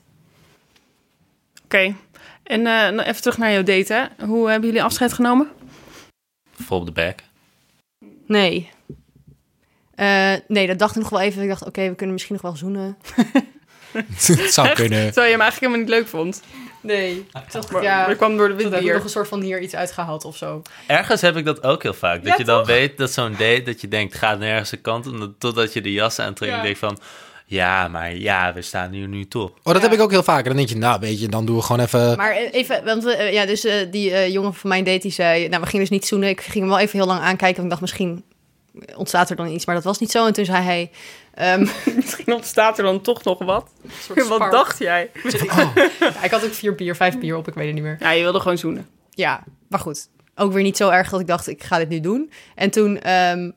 Speaker 4: Oké. En eh, nou even terug naar jouw date, hè. Hoe hebben jullie afscheid genomen?
Speaker 3: Vol op de bek.
Speaker 5: Nee. Eh, nee, dat dacht ik nog wel even. Ik dacht, oké, we kunnen misschien nog wel zoenen.
Speaker 1: het zou kunnen.
Speaker 4: Terwijl je hem eigenlijk helemaal niet leuk vond.
Speaker 5: Nee. Ik dacht,
Speaker 4: Maar
Speaker 5: ja,
Speaker 4: dat kwam door de
Speaker 5: toen heb ik nog
Speaker 4: windbier.
Speaker 5: een soort van hier iets uitgehaald of zo.
Speaker 3: Ergens heb ik dat ook heel vaak. Dat
Speaker 5: Ja,
Speaker 3: je dan weet dat zo'n date, dat je denkt, gaat nergens een kant. op, Totdat je de jas aantrekt en
Speaker 5: Ja.
Speaker 3: denkt van, ja, maar ja, we staan hier nu top.
Speaker 1: Oh, dat
Speaker 5: Ja.
Speaker 1: heb ik ook heel vaak. En dan denk je, nou weet je, dan doen we gewoon even...
Speaker 5: Maar eh, even, want we, eh, ja, dus eh, die eh, jongen van mijn date die zei, nou, we gingen dus niet zoenen. Ik ging hem wel even heel lang aankijken. Want ik dacht, misschien ontstaat er dan iets, maar dat was niet zo. En toen zei hij, ehm,
Speaker 4: Misschien ontstaat er dan toch nog wat.
Speaker 5: een soort spark.
Speaker 4: Wat dacht jij?
Speaker 5: Ja, nou, ik had ook vier bier, vijf bier op, ik weet het niet meer.
Speaker 4: Ja, je wilde gewoon zoenen.
Speaker 5: Ja, maar goed. Ook weer niet zo erg dat ik dacht, ik ga dit nu doen. En toen ehm,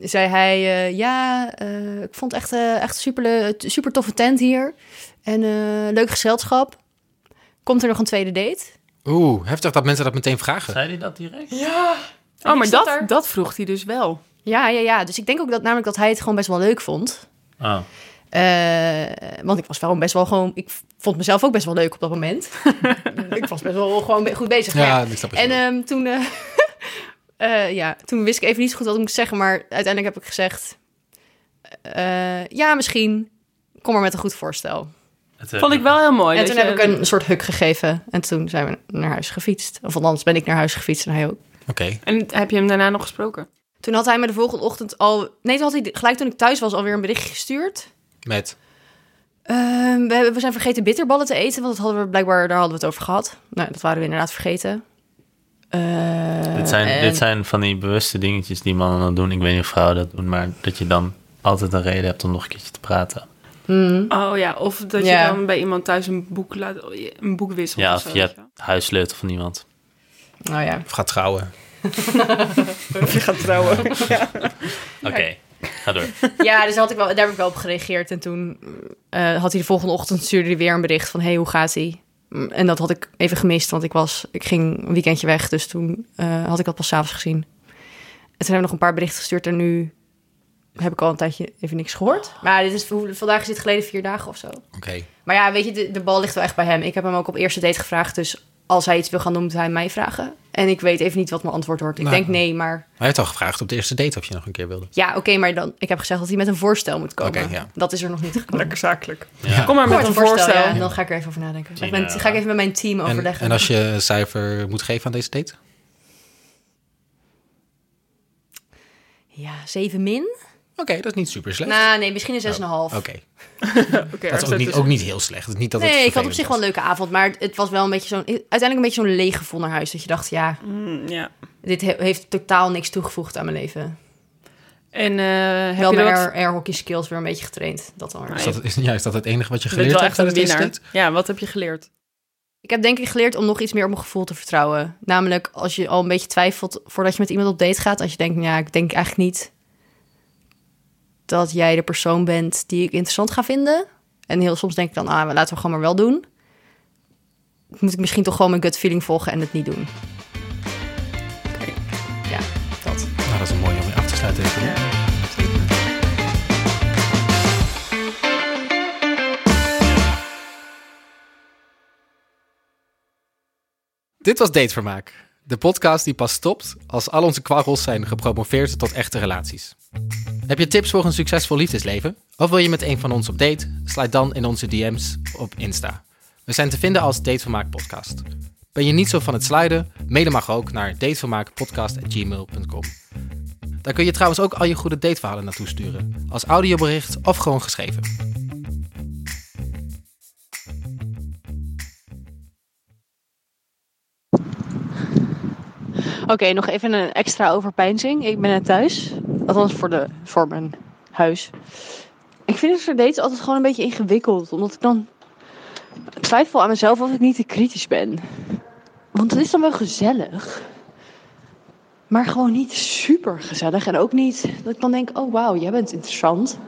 Speaker 5: zei hij, eh, ja, eh, ik vond echt, eh, echt super, super toffe tent hier. En eh, leuk gezelschap. Komt er nog een tweede date?
Speaker 1: Oeh, heftig dat mensen dat meteen vragen.
Speaker 3: Zei hij dat direct?
Speaker 4: Oh, maar
Speaker 5: zat
Speaker 4: dat,
Speaker 5: er.
Speaker 4: dat vroeg hij dus wel.
Speaker 5: Ja, ja, ja. Dus ik denk ook dat namelijk dat hij het gewoon best wel leuk vond.
Speaker 3: Oh.
Speaker 5: Eh, Eh, want ik was wel best wel gewoon... Ik vond mezelf ook best wel leuk op dat moment. ik was best wel gewoon be- goed bezig. Maar ja,
Speaker 1: Ja, ik snap het.
Speaker 5: en
Speaker 1: wel.
Speaker 5: ehm, toen, eh, eh, ja, toen wist ik even niet zo goed wat ik moest zeggen, maar uiteindelijk heb ik gezegd: eh, Ja, misschien. Kom maar met een goed voorstel.
Speaker 3: Het, eh,
Speaker 4: Vond ik wel heel mooi.
Speaker 5: en
Speaker 4: dat
Speaker 5: toen
Speaker 4: je-
Speaker 5: heb ik een soort huk gegeven. En toen zijn we naar huis gefietst. Of anders ben ik naar huis gefietst en hij ook.
Speaker 1: Oké.
Speaker 4: En heb je hem daarna nog gesproken?
Speaker 5: Toen had hij me de volgende ochtend al. Nee, toen had hij gelijk toen ik thuis was alweer een bericht gestuurd.
Speaker 1: Met.
Speaker 5: Ehm, we, hebben, we zijn vergeten bitterballen te eten, want dat hadden we blijkbaar, daar hadden we het over gehad. Nou, dat waren we inderdaad vergeten. Eh,
Speaker 3: Dit zijn,
Speaker 5: en-
Speaker 3: dit zijn van die bewuste dingetjes die mannen dan doen. Ik weet niet of vrouwen dat doen, maar dat je dan altijd een reden hebt om nog een keertje te praten.
Speaker 5: Hmm.
Speaker 4: Oh ja, of dat
Speaker 5: Ja.
Speaker 4: je dan bij iemand thuis een boek, laat, een boek wisselt.
Speaker 3: ja,
Speaker 4: of zo,
Speaker 3: of je
Speaker 4: weet
Speaker 3: hebt
Speaker 4: je wel.
Speaker 3: huissleutel van iemand.
Speaker 5: Nou ja.
Speaker 1: Of gaat trouwen.
Speaker 4: Of je gaat trouwen.
Speaker 3: Oké, ga door.
Speaker 5: Ja, dus had ik wel, daar heb ik wel op gereageerd. En toen eh, had hij de volgende ochtend stuurde hij weer een bericht van... hey, hoe gaat ie? Mm, En dat had ik even gemist, want ik, was, ik ging een weekendje weg. Dus toen eh, had ik dat pas s'avonds gezien. En toen hebben we nog een paar berichten gestuurd. En nu heb ik al een tijdje even niks gehoord. Maar dit is, hoe- vandaag is dit geleden vier dagen of zo.
Speaker 1: Oké.
Speaker 5: Maar ja, weet je, de, de bal ligt wel echt bij hem. Ik heb hem ook op eerste date gevraagd. Dus als hij iets wil gaan doen, moet hij mij vragen. En ik weet even niet wat mijn antwoord wordt. Ik
Speaker 1: Nou.
Speaker 5: denk nee, maar...
Speaker 1: Maar je had al gevraagd op de eerste date of je nog een keer wilde.
Speaker 5: Ja, oké, maar dan, ik heb gezegd dat hij met een voorstel moet komen.
Speaker 1: Oké, ja.
Speaker 5: Dat is er nog niet gekomen.
Speaker 4: Lekker zakelijk.
Speaker 3: Ja.
Speaker 4: Kom maar met een voorstel.
Speaker 5: ja, en dan ga ik er even over nadenken. Ga ik met-
Speaker 3: Tina.
Speaker 5: ga ik even met mijn team
Speaker 1: eh, En,
Speaker 5: overleggen.
Speaker 1: en als je een cijfer moet geven aan deze date?
Speaker 5: Ja, 7 min?
Speaker 1: Oké, dat is niet super slecht.
Speaker 5: Nou, nee, misschien een 6,5.
Speaker 1: Oké,
Speaker 4: Oké,
Speaker 1: dat
Speaker 4: er
Speaker 1: is ook
Speaker 4: zit
Speaker 1: niet,
Speaker 4: dus-
Speaker 1: ook niet heel slecht. Het is Niet dat het
Speaker 5: Nee, ik had op
Speaker 1: vervelend
Speaker 5: zich
Speaker 1: was.
Speaker 5: wel een leuke avond, maar het- het was wel een beetje zo'n... Uiteindelijk een beetje zo'n leeggevonden huis. Dat je dacht, ja,
Speaker 4: Mm, ja.
Speaker 5: dit he- heeft totaal niks toegevoegd aan mijn leven.
Speaker 4: En eh, heb
Speaker 5: wel
Speaker 4: je
Speaker 5: mijn
Speaker 4: er wat...
Speaker 5: air, airhockey skills weer een beetje getraind. Dat dan weer.
Speaker 4: Nee.
Speaker 1: Is dat, is, ja, is dat het enige wat je
Speaker 4: Je bent
Speaker 1: geleerd
Speaker 4: wel
Speaker 1: hebt
Speaker 4: echt
Speaker 1: aan
Speaker 4: een
Speaker 1: de eerste
Speaker 4: winnaar.
Speaker 1: date?
Speaker 4: Ja, wat heb je geleerd?
Speaker 5: Ik heb denk ik geleerd om nog iets meer op mijn gevoel te vertrouwen. Namelijk als je al een beetje twijfelt voordat je met iemand op date gaat. Als je denkt, ja, ik denk eigenlijk niet dat jij de persoon bent die ik interessant ga vinden. En heel soms denk ik dan, ah, laten we gewoon maar wel doen. Moet ik misschien toch gewoon mijn gut feeling volgen en het niet doen. Ja, dat.
Speaker 1: Nou, dat is een mooie om mee af te sluiten. denk ik. Dit was Datevermaak. De podcast die pas stopt als al onze kwarrels zijn gepromoveerd tot echte relaties. Heb je tips voor een succesvol liefdesleven? Of wil je met een van ons op date? Sluit dan in onze DM's op Insta. We zijn te vinden als Datevermaak Podcast. Ben je niet zo van het sliden? Mailen mag ook naar datevermaakpodcast.gmail.com. Daar kun je trouwens ook al je goede dateverhalen naartoe sturen. Als audiobericht of gewoon geschreven.
Speaker 2: Oké, nog even een extra overpeinzing. Ik ben net thuis. Althans voor, de, voor mijn huis. Ik vind het voor dates altijd gewoon een beetje ingewikkeld. Omdat ik dan twijfel aan mezelf of ik niet te kritisch ben. Want het is dan wel gezellig. Maar gewoon niet super gezellig. En ook niet dat ik dan denk, oh wauw, jij bent interessant.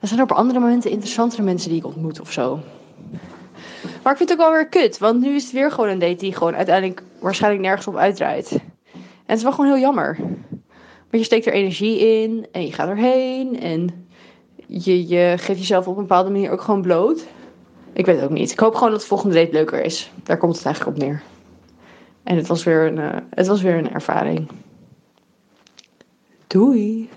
Speaker 2: Er zijn op andere momenten interessantere mensen die ik ontmoet of zo. Maar ik vind het ook wel weer kut, want nu is het weer gewoon een date die gewoon uiteindelijk waarschijnlijk nergens op uitdraait. En het is wel gewoon heel jammer. Maar je steekt er energie in en je gaat erheen en je, je geeft jezelf op een bepaalde manier ook gewoon bloot. Ik weet het ook niet. Ik hoop gewoon dat de volgende date leuker is. Daar komt het eigenlijk op neer. En het was weer een, eh, het was weer een ervaring. Doei!